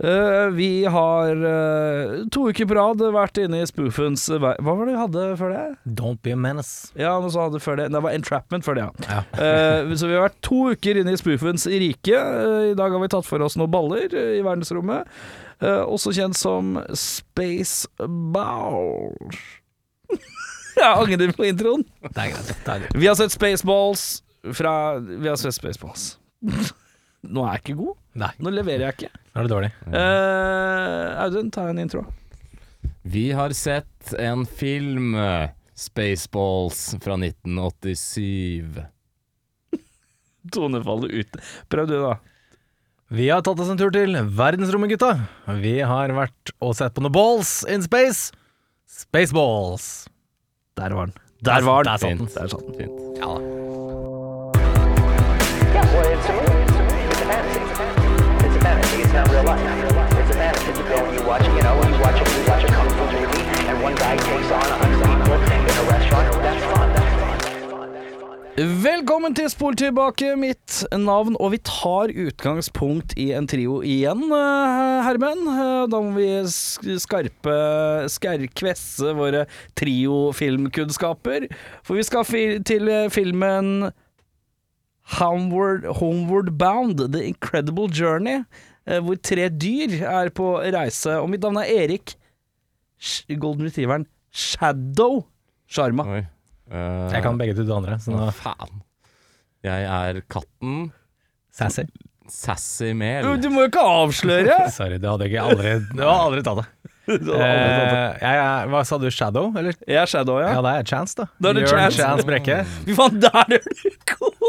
Eh, vi har eh, to uker på rad vært inne i spoofens vei Hva var det vi hadde før det? Don't be a menace. Ja, noe som hadde før det Det var Entrapment før det, ja. Ja. Eh, så vi har vært to uker inne i spoofens rike. Eh, I dag har vi tatt for oss noen baller eh, i verdensrommet. Eh, også kjent som Space Balls. Jeg angrer på introen. Det er greit. Det er greit. Vi har sett Spaceballs fra Vi har sett Spaceballs. Nå er jeg ikke god. Nei, Nå leverer jeg ikke. nå er det dårlig. Eh, Audun, ta en intro. Vi har sett en film, eh, Spaceballs, fra 1987. Tonefallet ute. Prøv du, da. Vi har tatt oss en tur til verdensrommet, gutta. Vi har vært og sett på noen balls in space. Spaceballs. Der var den. Der var den. Der satt den. Fint. Der satt den. Fint. Guess what? It's a movie. It's a fantasy. It's a fantasy. It's not real life. It's a fantasy. You go and you watch, you know, you watch a, you watch a kung fu movie, and one guy takes on a hundred people in a restaurant. That's fun. That's fun. That's fun. Velkommen til Spol tilbake, mitt navn, og vi tar utgangspunkt i en trio igjen, eh, Herman. Eh, Da må vi sk- skarpe skær, kvesse våre trio-filmkunnskaper, for vi skal fi til eh, filmen Homeward, Homeward Bound, The Incredible Journey, eh, hvor tre dyr er på reise, og mitt navn er Erik, Sh- Golden Retrieveren, Shadow Sharma. Oi. Eh, Jeg kan begge til det andre, så nå Å, faen. Jeg er katten Sassy. Sassy Mel. Du må jo ikke avsløre! Sorry, det hadde jeg ikke aldri, det var aldri tatt det. Eh, jeg, er- hva sa du, Shadow? Eller? Jeg er Shadow, ja. Ja, det er Chance, da. Da er det Jørn Chance. Chance Brekke. Fy faen, der er du god!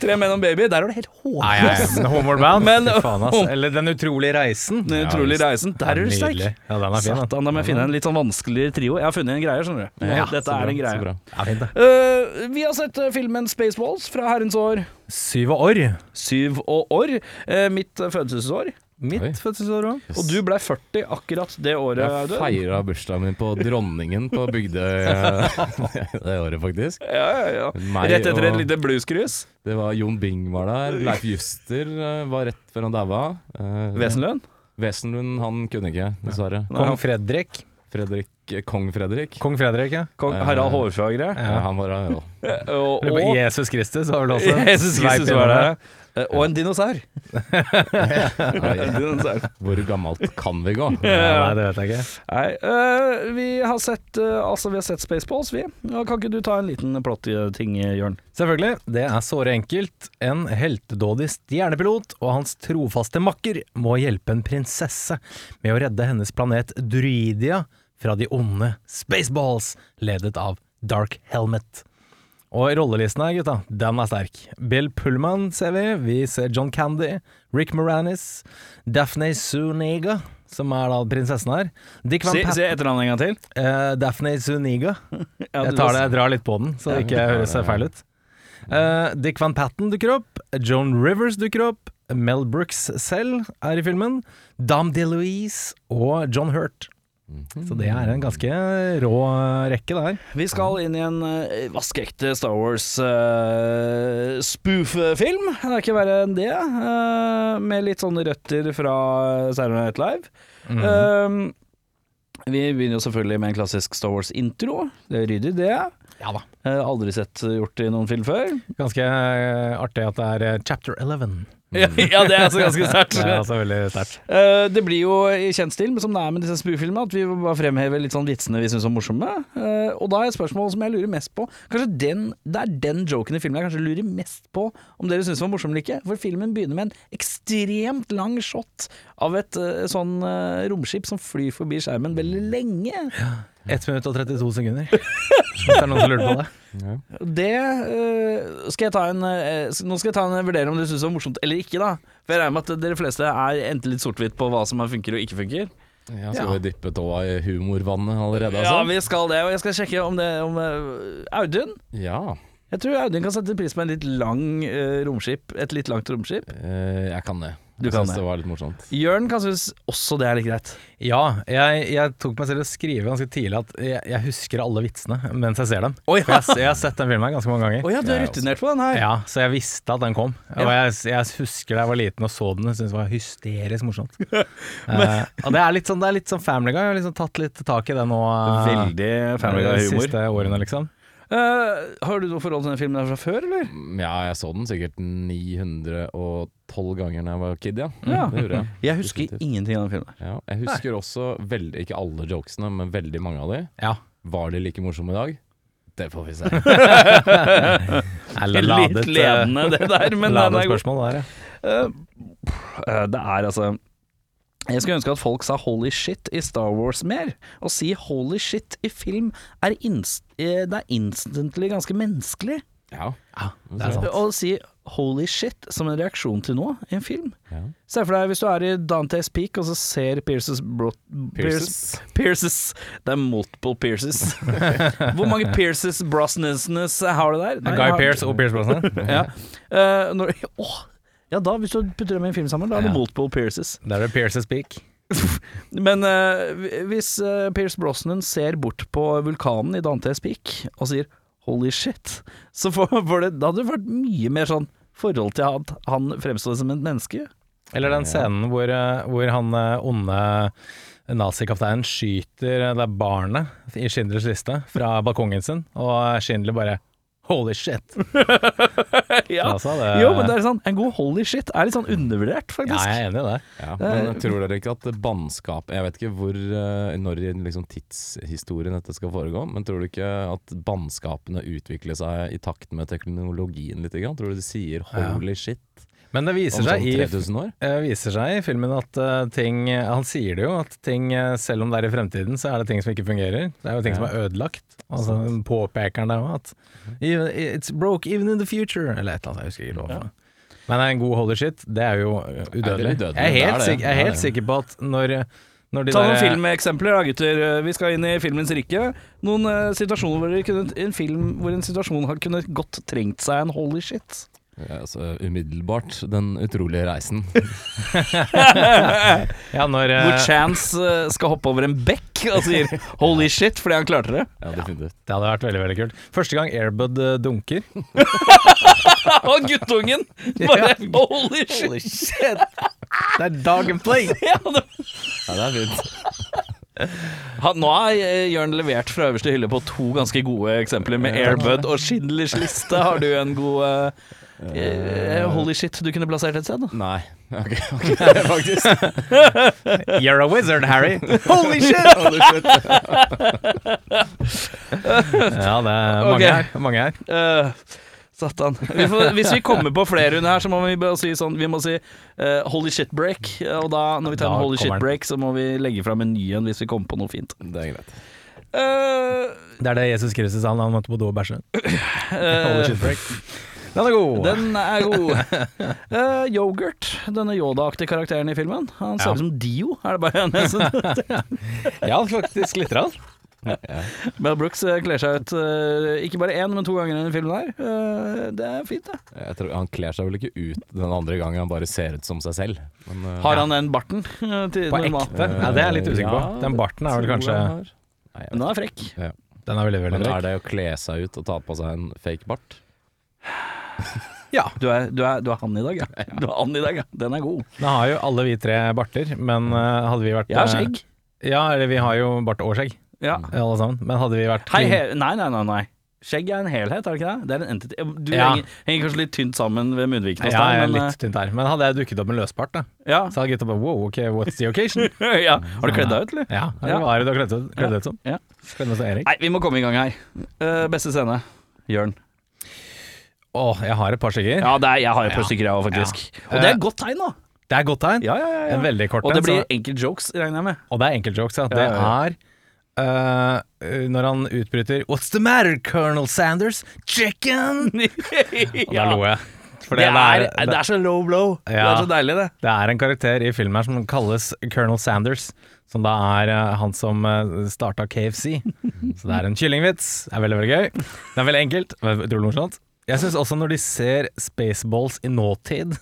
Tre menn og en baby, der er du helt Ah, Nei, håpløs. nei, men Homeward Bound. Men- Fy faen, ass. Eller Den utrolige reisen. Den utrolige reisen, der er du sterk. Nydelig. Ja, den er fin, den. Satan, da må jeg finne en litt sånn vanskeligere trio. Jeg har funnet en greie, skjønner du. Ja, så Dette bra, er en så greie. bra. Ja, fint, det. Eh, vi har sett eh, filmen Spaceballs fra herrens år Syv år. syv og år. eh, mitt eh, fødselsår. Oi. Mitt fødselsår òg. Og du ble 40 akkurat det året, Jeg Audun. feira bursdagen min på Dronningen på Bygdøy eh, det året, faktisk. Ja, ja, ja. Meg Rett etter et og- lite blueskrus. Det var Jon Bing var der. Leif Juster eh, var rett før han daua. Eh, Wesenlund. Wesenlund, han kunne ikke, dessverre. Kong Fredrik. Fredrik, eh, Kong Fredrik. Kong Fredrik, ja. Kong Harald Hårfagre. Eh, Eh, Ja, han var ja. Og, Eller og Jesus Kristus var vel også en Jesus sveip Kristus innom var det. Eh, Og en dinosaur. Nei, En dinosaur. Hvor gammelt kan vi gå? Ja, nei, det vet jeg ikke. Nei, øh, vi har sett øh, Altså, vi har sett Spaceballs, vi. Ja, Kan ikke du ta en liten plott-ting, eh, Jørn? Selvfølgelig, det er såre enkelt. En heltedådig stjernepilot og hans trofaste makker må hjelpe en prinsesse med å redde hennes planet Druidia fra de onde Spaceballs, ledet av Dark Helmet. Og rollelisten her, gutta, den er sterk. Bill Pullman ser vi, vi ser John Candy, Rick Moranis, Daphne Zuniga, som er da prinsessen her. Dick Van Si, Patten, si etternavnet en gang til. eh, Daphne Zuniga. Ja, Jeg du- tar det, jeg drar litt på den, så det ikke Ja, høres ja, ja. feil ut. Eh, Dick Van Patten dukker opp, Joan Rivers dukker opp, Mel Brooks selv er i filmen, Dame DeLuise og John Hurt. Så det er en ganske rå eh, rekke, det her. Vi skal inn i en øh, vaskeekte Star Wars-spoof-film. det er ikke verre enn det. øh, med litt sånne røtter fra eh, Saturday Night Live. Ehm, vi begynner jo selvfølgelig med en klassisk Star Wars-intro. Det er ryddig, det. Ja da. Eh, aldri sett gjort i noen film før. Ganske eh, artig at det er eh, chapter 11. Ja, ja, det er altså ganske sterkt. Det er altså veldig sterkt. Eh, det blir jo i kjent stil, men som det er med disse spufilmene, at vi bare fremhever litt sånn vitsene vi syns er morsomme. Eh, og da er et spørsmål som jeg lurer mest på Kanskje den, Det er den joken i filmen jeg kanskje lurer mest på om dere syns var morsom eller ikke. For filmen begynner med en ekstremt lang shot av et eh, sånn eh, romskip som flyr forbi skjermen veldig lenge. 1 minutt og 32 sekunder. Hvis det er noen som lurer på det. Det eh, skal jeg ta en eh, Nå skal jeg ta en vurdering om dere syns det var morsomt eller ikke, da. For jeg regner med at dere fleste er enten litt sort-hvitt på hva som funker og ikke funker. Ja, skal vi dyppe tåa i humorvannet allerede, Ja, altså? vi skal det, og jeg skal sjekke om det om, eh, Audun, Ja. jeg Jeg tror Audun kan sette pris på en litt lang eh, romskip, et litt langt romskip. Eh, jeg kan det. Du Jeg kan synes det. det var litt morsomt. Jørn kan synes også det er litt greit. Ja, jeg, jeg tok meg selv i å skrive ganske tidlig at jeg, jeg husker alle vitsene mens jeg ser dem. Å ja. For jeg, jeg har sett den filmen ganske mange ganger. Å ja, du er Jeg også. rutinert på den her. Ja, Så jeg visste at den kom. Og Ja. jeg, jeg husker da jeg var liten og så den og syntes det var hysterisk morsomt. Eh, og det er litt sånn, det er litt sånn Family Guy. Jeg har liksom tatt litt tak i det nå. eh, Veldig family de guy-humor. siste årene, liksom. Eh, har du noe forhold til den filmen her fra før, eller? Mm, Ja, jeg så den sikkert 912 ganger da jeg var kid, ja. Ja. Det gjorde jeg. Jeg husker Definitivt. ingenting av den filmen. her. Ja, jeg husker også veldig, ikke alle jokesene, men veldig mange av de. Ja. Var de like morsomme i dag? Det får vi se. Eller Litt ledende, det der, men den eh, ladet er god. spørsmål der, ja. Eh, eh, det er altså Jeg skulle ønske at folk sa 'holy shit' i Star Wars mer. Å si 'holy shit' i film er, inst eh, det er instantly ganske menneskelig. Ja. ja. Det er sant. Å si 'holy shit' som en reaksjon til noe i en film. ja. Se for deg hvis du er i Dantes Peak og så ser Pierces bro Pierces. Pierce- Pierces. Det er multiple Pierces. Hvor mange Pierces Brosnansnes har du der? Nei, Guy jeg har- Pearce og Pearce Brosnan. Ja. Eh, når, åh, ja da, hvis du putter dem i en film sammen, da er det Ja. multiple Pierces. Der er det Pearce's Peak. Men eh, hvis eh, Pierce Brosnan ser bort på vulkanen i Dantes Peak og sier 'holy shit', så får, får det, da hadde det vært mye mer sånn forhold til at han fremstår som et menneske. Eller den scenen hvor, eh, hvor han eh, onde nazikapteinen skyter eh, det barnet i Schindlers liste fra balkongen sin, og eh, Schindler bare Holy shit! ja. Altså, det, Jo, men det er sånn, en god 'holy shit' er litt sånn undervurdert, ja, faktisk. jeg er enig i det. Ja, men tror dere ikke at bannskap Jeg vet ikke hvor, eh, når i liksom tidshistorien dette skal foregå, men tror du ikke at bannskapene utvikler seg i takt med teknologien litt? Grann? Tror du de sier 'holy shit' Men det om viser sånn seg i 3000 år? eh, viser seg i filmen at eh, ting Han sier det jo, at ting, eh, selv om det er i fremtiden, så er det ting som ikke fungerer. Det er jo ting som er ødelagt. Altså, påpeker han det òg, at even, It's broke even in the future, eller et eller annet. Jeg husker ikke hva det var. Men en god holy shit, det er jo eh, udødelig. udødelig, Jeg er det er helt, det. sikker, jeg Det er er helt sikker på at når, når de Ta noen der- filmeksempler da, gutter. Eh, Vi skal inn i filmens rike. Noen eh, situasjoner hvor, dere kunne, en film, hvor en situasjon har kunnet godt trengt seg en 'holy shit'. Ja, altså, umiddelbart Den utrolige reisen. ja, når, eh, Hvor Chance eh, skal hoppe over en bekk og sier 'holy shit' fordi han klarte det. Ja, definitivt. Det hadde vært veldig veldig kult. Første gang Airbud eh, dunker. Og guttungen bare 'holy shit'. Det er dog and play! Ja, det- Ja, det er fint. han, nå har eh, Jørn levert fra øverste hylle på to ganske gode eksempler med Airbud og Schindlers liste. Har du en god eh, eh, holy shit du kunne plassert et sted? da? Nei. Ok, ok, faktisk. You're a wizard, Harry! Holy shit! Holy shit. Ja, det er mange Ok. her. Mange her. Eh, Satan. Vi får, hvis vi kommer på flere under her, så må vi bare si sånn Vi må si eh, holy shit break. eh, Og da, når vi tar Da en holy shit kommer den. break, så må vi legge fram en ny en hvis vi kommer på noe fint. Det er greit. Eh, Det er det Jesus Kristus sa da han måtte på do og bæsje. eh, Den er god! den er god. Eh, yoghurt, denne Yoda-aktige karakteren i filmen. Han ser Ja. ut som Dio, er det bare en eneste. Ja, faktisk litt. Rann. Mel Brooks eh, kler seg ut eh, ikke bare én, men to ganger i denne filmen her. Eh, det er fint, det. Jeg tror Han kler seg vel ikke ut den andre gangen han bare ser ut som seg selv. Men, eh, Har han den barten? eh, til På normal? ekte? Ja, det er jeg litt usikker på. Ja, Den barten er vel tror jeg kanskje han har. Nei, jeg Men vet den er frekk. Den er veldig, ikke. veldig Men drøy. er det å kle seg ut og ta på seg en fake bart? Ja. Du er, du, er, du er han i dag, ja. Du er han i dag, ja. Den er god. Nå har jo alle vi tre barter, men eh, hadde vi vært Jeg har eh, skjegg. Ja, eller vi har jo bart og skjegg, Ja. alle sammen. Men hadde vi vært Hei, clean- he nei, nei, nei, nei. Skjegg er en helhet, er det ikke det? Det er en entity. Du Ja. henger, henger kanskje litt tynt sammen ved munnvikene hos Ja, jeg deg, er men, litt tynt her. Men hadde jeg dukket opp med løsbart, da, eh, ja. så hadde gutta bare wow, ok, what's the occasion? ja. Har du kledd deg ut, eller? Ja, det Ja. var det du har kledd ut- kledd deg ut som. Ja. Kledd deg ut som Erik. Nei, vi må komme i gang her. Eh, beste scene. Jørn. Åh, jeg har et par skjegger. Ja, det er, jeg har et par stykker, jeg òg, faktisk. Og det er Eh, et godt tegn, da. Det er et godt tegn. Ja, ja, ja, En ja. veldig kort Og det en, så- blir enkel jokes, regner jeg med. Og det er enkeltjokes, ja. Det Ja, ja, er øh, når han utbryter 'What's the matter, Colonel Sanders? Chicken!' Og da Ja. lo jeg. For Det er, det, det er så low blow. Det Ja. er så deilig, det. det er en karakter i filmen her som kalles Colonel Sanders, som da er øh, han som uh, starta KFC. Så det er en kyllingvits. Det er veldig veldig gøy. Det er veldig enkelt, men utrolig morsomt. Jeg syns også når de ser Spaceballs i nåtid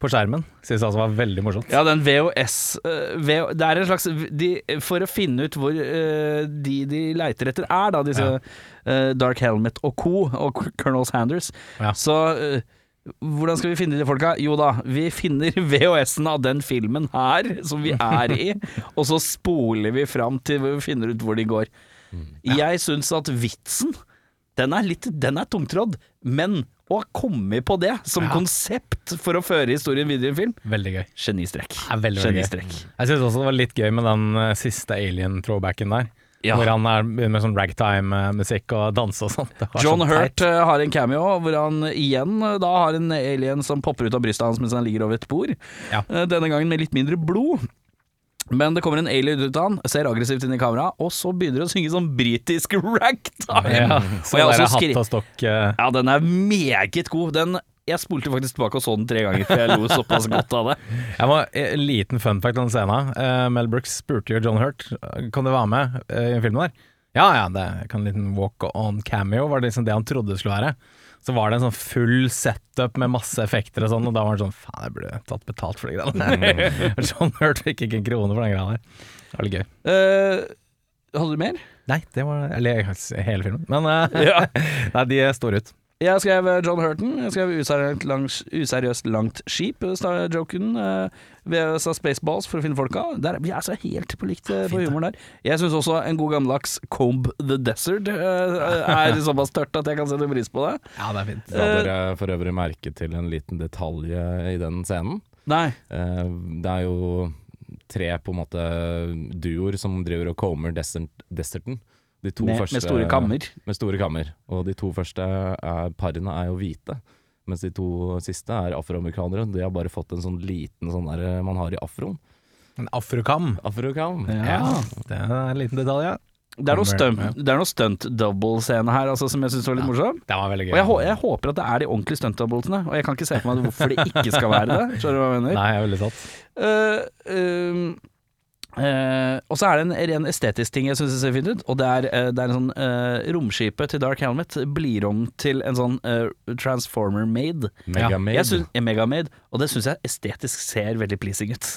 på skjermen, synes jeg altså var veldig morsomt. Ja, den VHS eh, VH, Det er en slags de, For å finne ut hvor eh, de de leiter etter er, da, disse eh, Dark Helmet og co. og Colonel Sanders, Ja. så eh, hvordan skal vi finne de folka? Jo da, vi finner VHS-en av den filmen her, som vi er i, og så spoler vi fram til vi finner ut hvor de går. Mm. Jeg syns at vitsen, den er litt Den er tungtrådd, men å ha kommet på det som Ja. konsept for å føre historien videre i en film, Veldig gøy. Genistrek. er veldig, veldig gøy. Mm. Genistrek. Jeg syns også det var litt gøy med den eh, siste alien-throwbacken der. Ja. Hvor han er med sånn ragtime-musikk og danse og sånt. Det var John så Hurt sånn teit. eh, har en cameo hvor han igjen eh, da har en alien som popper ut av brystet hans mens han ligger over et bord. Ja. Eh, Denne gangen med litt mindre blod. Men det kommer en alien ut av han, ser aggressivt inn i kamera, og så begynner det å synge sånn britisk ragtime. Ja, Mm. Og så jeg har der er også skri- hatt og stokk eh, Ja, den er meget god. Den, jeg spolte faktisk tilbake og så den tre ganger, for jeg lo såpass godt av det. Jeg må, En liten fun fact om scenen. Eh, Mel Brooks spurte jo John Hurt Kan du være med eh, i filmen der. Ja ja, det jeg kan en liten walk on cameo, var det liksom det han trodde det skulle være. Så var det en sånn full setup med masse effekter og sånn, og da var han sånn Faen, jeg burde tatt betalt for de greiene. John Hurt fikk ikke en krone for den greia der. Det var litt gøy. Eh, hadde du mer? Nei, det var Eller jeg- hele filmen. Men eh, Ja. nei, de står ut. Jeg skrev eh, John Hurton. Jeg skrev useriøst langt, useriøst langt skip, eh, sta- joken. eh, VHS av Spaceballs for å finne folka. Der, vi er så helt på likt eh, på humoren der. Jeg syns også en god gammeldags Comb the Desert eh, er såpass tørt at jeg kan sette pris på det. Ja, det er fint. Eh, La dere for øvrig merke til en liten detalj eh, i den scenen. Nei. Eh, Det er jo tre på en måte duoer som driver og comer desert, deserten. De to Med, første- med store kammer. Med store kammer. Og de to første er, parene er jo hvite. Mens de to siste er afroamerikanere. De har bare fått en sånn liten sånn der man har i afroen. En afrokam. Afrokam. Ja, det er en liten detalj, ja. Det er noe stunt, Kammer, det er noe stunt double-scene her altså, som jeg syns var litt morsom. Den var veldig gøy. Og jeg, hå- jeg håper at det er de ordentlige stunt doublesene, og jeg kan ikke se for meg hvorfor det ikke skal være det. Skjønner du hva jeg mener? Nei, jeg er veldig satt. Eh, ehm, eh, og så er det en ren estetisk ting jeg syns ser fint ut. Og det er, eh, det er en sånn eh, Romskipet til Dark Helmet blir om til en sånn eh, Transformer Made. Ja. Megamade. Jeg synes, eh, mega made og det syns jeg estetisk ser veldig pleasing ut.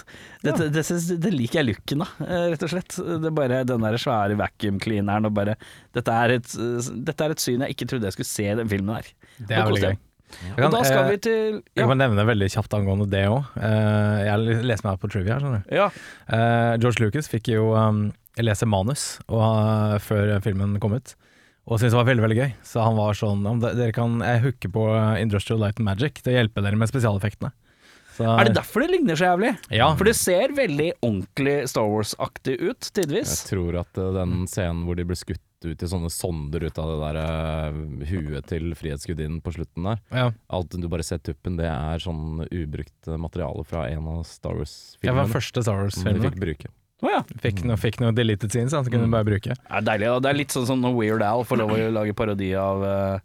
Det, det, det, syns- det liker jeg looken av, eh, rett og slett. Det er bare den der svære vacuum cleaneren og bare dette er, et, eh, dette er et syn jeg ikke trodde jeg skulle se i den filmen her. Det er Nå koser veldig jeg gøy. meg. Jeg Og kan, da skal eh, vi til Jeg Ja. kan nevne veldig kjapt angående det òg. Jeg leser meg opp på trivia. skjønner du. ja. Eh, George Lucas fikk jo um, lese manus og, eh, før filmen kom ut, og syntes det var veldig veldig gøy. Så han var sånn om de- dere kan, Jeg hooker på eh, Industrial Light and Magic til å hjelpe dere med spesialeffektene. Så, Er det derfor det ligner så jævlig? Ja. For det ser veldig ordentlig Star Wars-aktig ut, tidvis. Jeg tror at eh, den scenen hvor de ble skutt ut i sånne sonder ut av det der eh, huet til Frihetsgudinnen på slutten der. Ja. Alt du bare ser tuppen, det er sånn ubrukt eh, materiale fra en av Star Jeg var den Wars-filmene. første Star Som de Wars-filmen. Mm. fikk bruke. Å ja. Fikk noe, fikk noe deleted scenes, da, så kunne du bare bruke. Det er deilig. da. Det er litt sånn som når Weird Al får lov å lage parodi av, eh,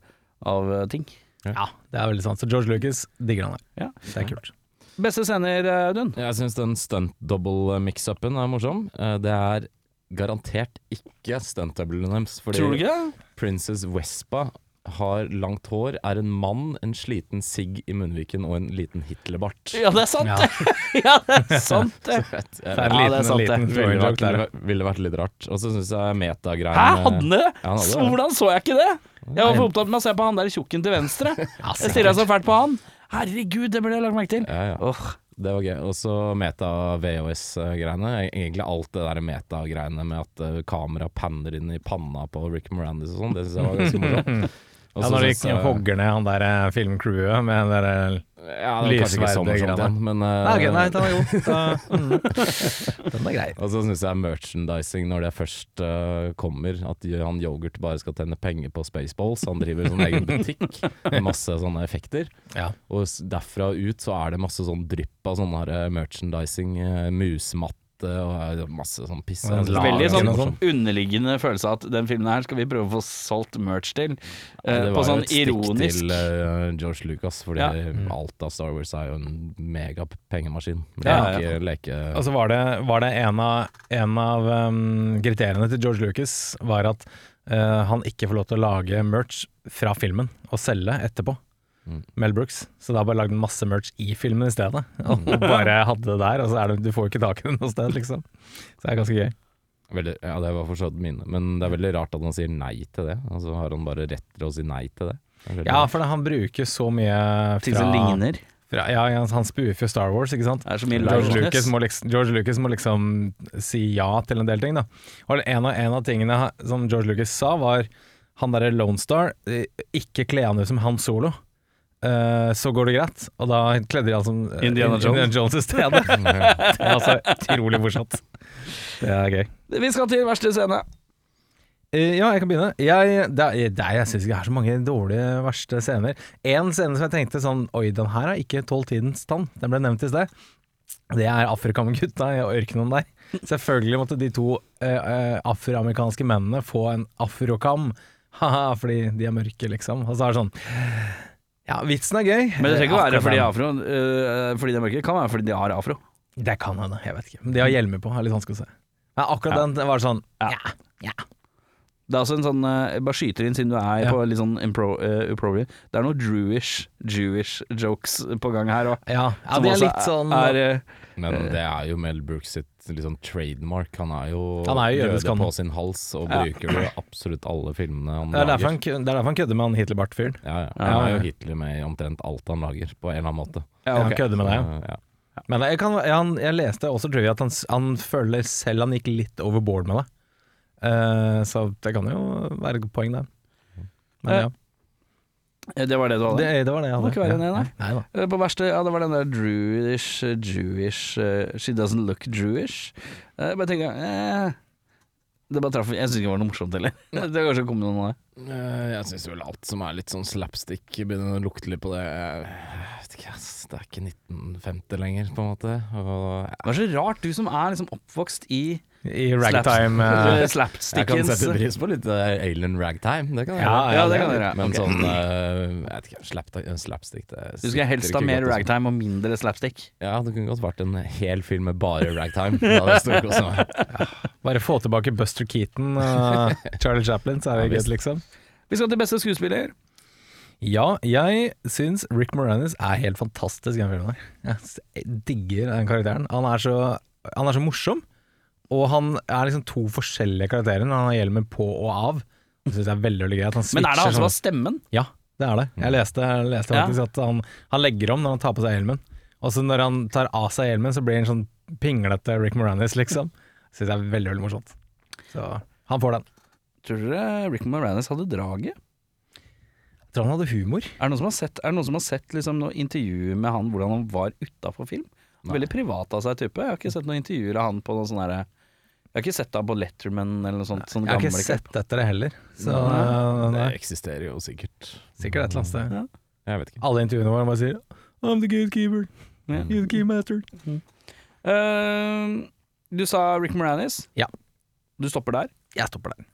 av eh, ting. Ja, det er veldig sant. Så George Lucas digger han der. Ja. Det er kult. Beste scener, eh, Audun? Jeg syns den stunt-double-mix-upen er morsom. Eh, Det er garantert ikke stunt-doublen deres. fordi Tror du ikke det? Princess Vespa har langt hår, er en mann, en sliten sigg i munnviken og en liten Hitlerbart. Ja, det er sant, det! Ja, det er sant, det! Det er en Det Ja, det er liten, sant, det. liten ville throwing vært, joke der. ja. ville vært litt rart. Og så syns jeg metagreiene Hæ, hadde den det? Ja, han hadde det. Så Hvordan så jeg ikke det? Jeg var for opptatt med å se på han der tjukken til venstre. Jeg stirra så fælt på han. Herregud, det burde jeg lagt merke til. Ja, ja. Åh, Det var gøy. Og så meta-VHS-greiene. Egentlig alt det der meta-greiene med at eh, kamera panner inn i panna på Rick Morandis og sånn, det syns jeg var ganske morsomt. Og Ja, så når de synes jeg- hogger ned han der eh, filmcrewet med den der eh, ja, det var kanskje ikke sånn, lysverdige sånn greiene. igjen, men Nei, ok, eh, nei, den var god. Da- mm. Den er grei. Og så syns jeg merchandising, når det først eh, kommer, at han Yoghurt bare skal tjene penger på Spaceballs. Han driver sånn egen butikk med masse sånne effekter. Ja. Og s- derfra ut så er det masse sånn drypp av sånn her, eh, merchandising, eh, musmatte og eh, masse sånn piss. Og en Jeg synes det veldig var sånn ganske morsomt. underliggende følelse av at den filmen her skal vi prøve å få solgt merch til. eh, på Det var jo sånn et stikk ironisk til eh, George Lucas, fordi Mm. Ja. alt av Star Wars er jo en megapengemaskin. Ja, Leke, leke Og så var det, var det en av, en av um, kriteriene til George Lucas var at eh, han ikke får lov til å lage merch fra filmen og selge etterpå. Mm. Mel Brooks. Så da har jeg bare lagd masse merch i filmen i stedet. Mm. Og bare hadde det der. Og så er det, du får ikke tak i det noe sted, liksom. Så det er ganske gøy. Altså- Veldig, ja, det var forstått mine. Men det er veldig rart at han sier nei til det. Altså Har han bare rett til å si nei til det? Det er veldig Ja, rart. for han bruker så mye Ting som fra, ligner. fra Ja, ja, han spoofer jo Star Wars, ikke sant. Det er så mye George likeness. Lucas, må liksom, George Lucas må liksom si ja til en del ting, da. Og en av, en av tingene ha- som George Lucas sa, var han derre Lone Star, eh, ikke kle han ut som Han Solo. Eh, så går det greit. Og da kledde de han som eh, Indiana Jones. Indiana Jones i stedet. det er altså utrolig morsomt. Det er gøy. Vi skal til verste scene. Eh, ja, jeg kan begynne. Jeg, det er, det er, jeg syns ikke det er så mange dårlige, verste scener. Én scene som jeg tenkte sånn Oi, den her har ikke tålt tidens tann. Den ble nevnt i sted. Det er afrokamergutta i ørkenen der. Selvfølgelig måtte de to eh, eh, afroamerikanske mennene få en afrokam. Haha, fordi de er mørke, liksom. Og så er det sånn Ja, vitsen er gøy. Eh, Men det trenger ikke å være fordi, Afrokam. afro, øh, fordi det er mørke. Det kan være fordi de har afro. Det kan hende, jeg vet ikke. Men de har hjelmer på, er litt vanskelig å se. Ja, akkurat den det var sånn Ja. ja. Det er også en sånn øh, Jeg bare skyter inn siden du er Ja. på litt sånn impro, øh, uprobrium. Det er noen Jewish, Jewish jokes på gang her òg. Ja, ja de er litt sånn er, øh, eh. Men det er jo Mel Brooks sitt liksom, trademark. Han er jo, Han er jo jødisk, jøde han. på sin hals, og Ja. bruker det i absolutt alle filmene han Det er derfor lager. han, kø- det er derfor han kødder med han Hitlerbart-fyren. Ja, ja. Ja, Han er ja. jo Hitler med i omtrent alt han lager, på en eller annen måte. ja, Han ok. kødder med deg, ja. Så, ja. Men jeg, kan, ja, han, jeg leste også, tror jeg, at han, s- han føler selv han gikk litt overboard med det. Eh, så det kan jo være et poeng der. Men ja, Eh, Det var det du hadde? det, det var det jeg Det må hadde. ikke være en, Ja. nei. Nei da. Eh, På verste, ja, det var den der Jewish, eh, Jewish eh, She doesn't look Jewish. Eh, Jeg bare tenker eh, Det bare traff Jeg syns ikke det var noe morsomt heller. Det var kanskje kom noen av det. Eh, Jeg syns vel alt som er litt sånn slapstick, begynner å lukte litt på det. Jeg vet ikke, ass. Det er ikke 1950 lenger, på en måte. Og Det var så rart, du som er liksom oppvokst i I ragtime eh, slaps- jeg kan slapstickens sette pris på litt eh, alien ragtime, det kan jeg Ja, gjøre. Ja, det kan dere. Men Ok. sånn eh, jeg vet ikke, slapta- eh, slapstick det Du skulle helst ha sitter ikke mer godt altså. i- ragtime og mindre slapstick. Ja, det kunne godt vært en hel film med bare ragtime. Da hadde jeg stort kost meg. Bare få tilbake Buster Keaton og Charlie Chaplin, så er Ja, det visst. greit, liksom. Vi skal til beste skuespiller. Ja, jeg syns Rick Moranis er helt fantastisk i den filmen. her. Jeg s- Jeg digger den karakteren. Han er så, han er så morsom, og han er liksom to forskjellige karakterer når han har hjelmen på og av. Det syns jeg er veldig veldig gøy at han switcher. Men er det han som sånn- har stemmen? Ja, det er det. Jeg leste, jeg leste Ja. faktisk at han, han legger om når han tar på seg hjelmen. Og så når han tar av seg hjelmen, så blir han sånn pinglete Rick Moranis, liksom. Syns jeg er veldig veldig morsomt. Så han får den. Tror dere Rick Moranis hadde draget? Jeg tror han hadde humor. Er det noen som har sett, er det noen som har sett liksom, noe intervju med han hvordan han var utafor film? Veldig privat av seg type. Jeg har ikke sett noen intervjuer av han på noen sånne der, Jeg har ikke sett han på Letterman eller noe sånt. Sånn Jeg har gamle ikke sett etter det heller. Så Nei. eh, nei. Det eksisterer jo sikkert. Sikkert et eller annet sted. Jeg vet ikke. Alle intervjuene våre bare sier I'm the gatekeeper, Ja. you're the keymaster. Eh, du sa Rick Moranis. Ja. Du stopper der. Jeg stopper der.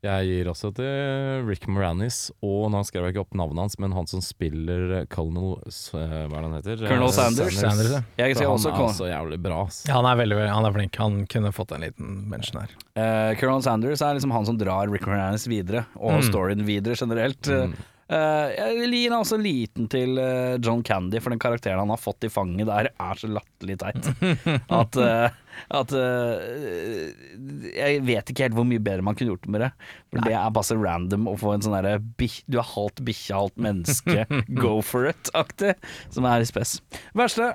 Jeg gir også til Rick Moranis, og nå skrev jeg ikke opp navnet hans, men han som spiller Colonel S- eh, Hva er det han heter? Colonel Eh, Sanders. Sanders, ja. Jeg For skal han også er komme. så jævlig bra. ass. Ja, han er veldig, veldig han er flink. Han kunne fått en liten mention her. Eh, Colonel Sanders er liksom han som drar Rick Moranis videre, og Mm. storyen videre generelt. Mm. Eh, jeg gir han også liten til eh, John Candy, for den karakteren han har fått i fanget der, er så latterlig teit. At, eh, at eh, Jeg vet ikke helt hvor mye bedre man kunne gjort med det. For det er bare så random å få en sånn derre bikk- Du er halvt bikkje, halvt menneske, go for it-aktig, som er spes. Verste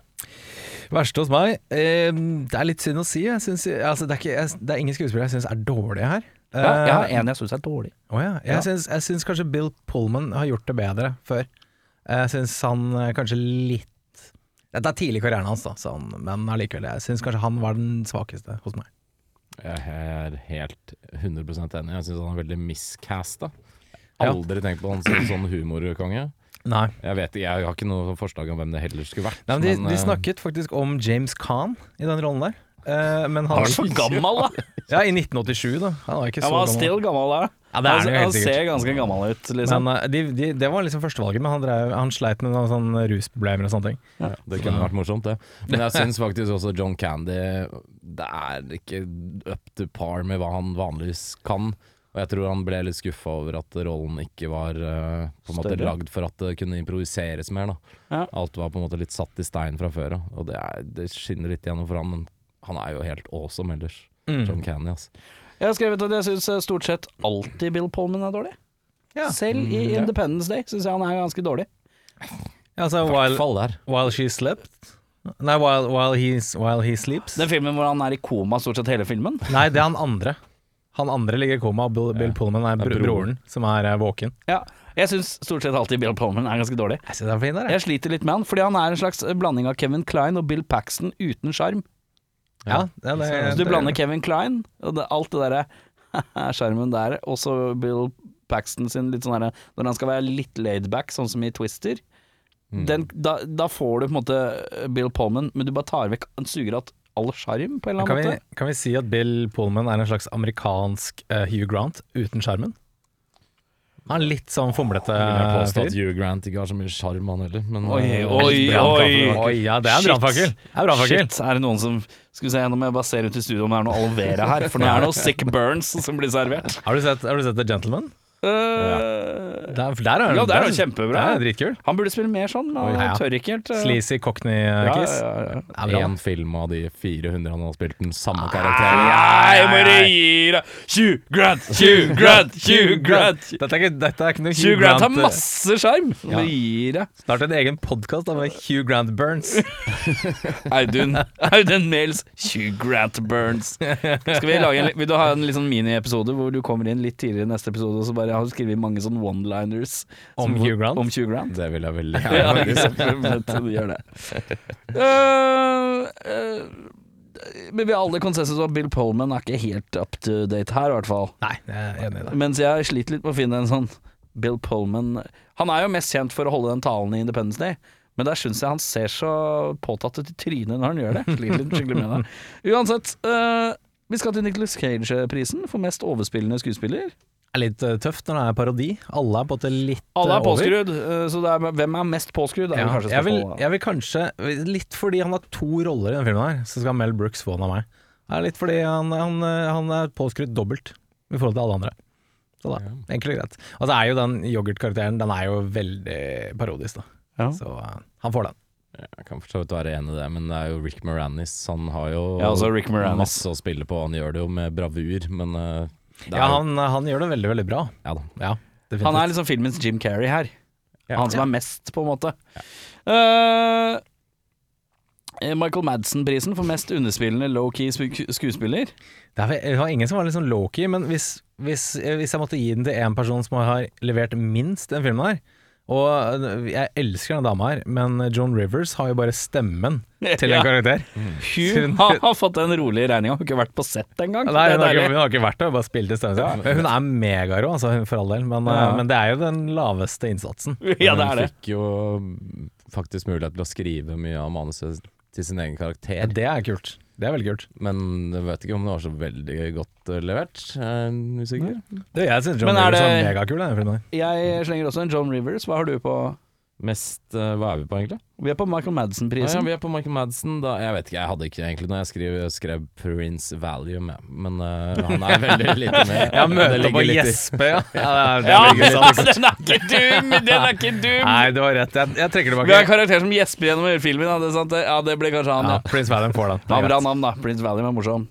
Verste hos meg eh, Det er litt synd å si. Jeg synes, altså, det, er ikke, jeg, det er ingen skuespillere jeg syns er dårlige her. ja, Jeg har Eh, en jeg syns er dårlig. Å ja. Jeg, Ja. Syns, jeg syns kanskje Bill Pullman har gjort det bedre før. Jeg syns han eh, kanskje litt Dette er tidlig i karrieren hans, da, så han, men allikevel. Jeg syns kanskje han var den svakeste hos meg. Jeg er helt 100 enig. Jeg syns han er veldig miscasta. Ja. Aldri tenkt på han som sånn humorkonge. Nei. Jeg vet ikke, jeg har ikke noe forslag om hvem det heller skulle vært. Nei, men de, men, eh, de snakket faktisk om James Caan i den rollen der. Eh, men han Han er så gammel, da! Ja, i 1987, da. Han var ikke så Han var gammel. still gammel da. Ja, det er han jo han, helt han sikkert. ser ganske gammel ut, liksom. Men, eh, de, de, det var liksom førstevalget, men han, drev, han sleit med noen sånne rusproblemer og sånne ting. Ja, det kunne vært morsomt, det. Men jeg syns faktisk også John Candy Det er ikke up to par med hva han vanligvis kan. Og jeg tror han ble litt skuffa over at rollen ikke var eh, på en måte Større? lagd for at det kunne improviseres mer. Da. Ja. Alt var på en måte litt satt i stein fra før av, og det, er, det skinner litt gjennom for han, men han er jo helt awesome ellers. Mm. John Candy, ass. Jeg har skrevet at jeg syns stort sett alltid Bill Pullman er dårlig. Ja. Selv i ja. Independence Day syns jeg han er ganske dårlig. Altså, Hvert while, fall der. while she slept Nei, while, while, he's, while he sleeps. Den filmen hvor han er i koma stort sett hele filmen. Nei, det er han andre. Han andre ligger i koma, og Bill, Bill Pullman er, Det er bro broren som er eh, våken. Ja. Jeg syns stort sett alltid Bill Pullman er ganske dårlig. Jeg synes det er fin der, jeg. Jeg sliter litt med han, fordi han er en slags blanding av Kevin Klein og Bill Paxton uten sjarm. Ja, det, det, Så du blander Kevin Klein og det, alt det derre sjarmen der, og så Bill Paxton sin litt sånn derre Når han skal være litt laidback, sånn som i Twister, Mm. den, da, da får du på en måte eh, Bill Pullman, men du bare tar vekk Han suger att all sjarm, på en eller kan vi, annen måte. kan vi si at Bill Pullman er en slags amerikansk eh, Hugh Grant uten skjermen? Han er litt sånn fomlete Jeg vil eh, påstå at fyr. Hugh Grant ikke har så mye sjarm, han heller. Men, Oi, eh, oi, Brandkaffe, oi. det var ikke- Oi, ja, det er en Shit. brannfakkel. Det er en brannfakkel. Shit, er det noen som Skal vi se, nå må jeg bare se rundt i studio om det er noe aloe vera her, for nå er det noe Sick Burns som blir servert. Har du sett, har du sett The Gentleman? Eh, Der, for der er, Ja, det er jo der- kjempebra. Det er dritkul. han burde spille mer sånn, men Oi, ja, ja. han tør ikke helt. eh. Sleazy Ja, cockney-kiss. ja, ja, ja. Det er bra. En film av de 400 han har spilt den Ah. samme karakteren. Nei, jeg må gi deg 20 grand, 20 grand, 20 grand. Dette er ikke, dette er ikke noe 20 Hugh grand Grant eh, har masse skjerm. eh. Ja. Gir deg. Snart en egen podkast med Hugh Grant Burns. Audun, Audun Mails, 20 grand burns. Skal vi lage en, li- vil du ha en litt sånn miniepisode hvor du kommer inn litt tidligere i neste episode, og så bare har du skrevet mange sånne one-liners som- Om Hugh Grant? Om 20 grand? Det vil jeg veldig Ja, gjerne. du gjør det. Eh, eh, men vi har alle konsensus om at Bill Polman er ikke helt up to date her, i hvert fall. Nei, jeg er enig i det. Mens jeg sliter litt med å finne en sånn Bill Pullman Han er jo mest kjent for å holde den talen i Independence Day, men der syns jeg han ser så påtatt ut i trynet når han gjør det. Sliter litt skikkelig med det. Uansett, øh, vi skal til Nicholas Cage-prisen for mest overspillende skuespiller. Det er litt eh, tøft når det er parodi. Alle er på en måte litt Alle eh, er over. påskrudd, øh, så det er, hvem er mest påskrudd? Er vel Ja, kanskje jeg, vil, spørsmålet. jeg vil kanskje Litt fordi han har to roller i denne filmen her, så skal Mel Brooks få den av meg. Det er litt fordi han, han, eh, han er påskrudd dobbelt i forhold til alle andre. Så da, enkelt og greit. Og så er jo den yoghurtkarakteren Den er jo veldig parodisk, da. Ja. Så eh, han får den. Jeg kan for så vidt være enig i det, men det er jo Rick Moranis. Han har jo Ja, altså Rick Moranis. masse å spille på. Han gjør det jo med bravur, men eh, det er Ja, jo- han, han gjør det veldig, veldig bra. ja, da. Ja, definitivt. Han er liksom filmens Jim Carrey her. Ja. Han som er mest, på en måte. Eh, Michael Madsen-prisen for mest underspillende low-key sku- skuespiller. Det er vel- det var ingen som var litt sånn lowkey, men hvis, hvis, eh, hvis jeg måtte gi den til en person som har levert minst den filmen her Og eh, jeg elsker denne dama her, men John Rivers har jo bare stemmen til en Ja. karakter. Hun har, har fått en rolig regning, hun har ikke vært på sett engang. Nei, Det er hun, har ikke, deilig. hun har ikke vært der, hun bare spilte stemmen sin. Men Hun er megarå, altså, hun- for all del, men, eh, Ja. men det er jo den laveste innsatsen. Ja, det Men er det. Hun fikk jo faktisk mulighet til å skrive mye av manuset til sin egen Ja, karakter, Det er kult. Det er veldig kult. men jeg vet ikke om det var så veldig godt eh, levert. Jeg er usikker. Det, jeg syns John Men er Rivers er det- megakul, den filmen her. Jeg slenger også en John Rivers. Hva har du på? Mest eh, Hva er vi på, egentlig? Vi er på Michael Ja, Madsen-prisen. vi er på Michael Madsen. Da, jeg vet ikke, jeg hadde ikke egentlig når jeg skrev, skrev Prince Valium, jeg. men eh, han er veldig lite med. Ja, Det møte ligger på litt i- gjespe, ja. ja, det er, det Ja, ligger sant. den er ikke dum! Den er ikke dum! Nei, du har rett. Jeg, jeg trekker tilbake. Vi har en karakter som gjesper gjennom hele filmen. Ja, det, er sant? det- ja, det ble kanskje han, Ja, ja. Prince Valiant får den. Det er Ja, bra greit. navn, da. Prince Valium er morsom.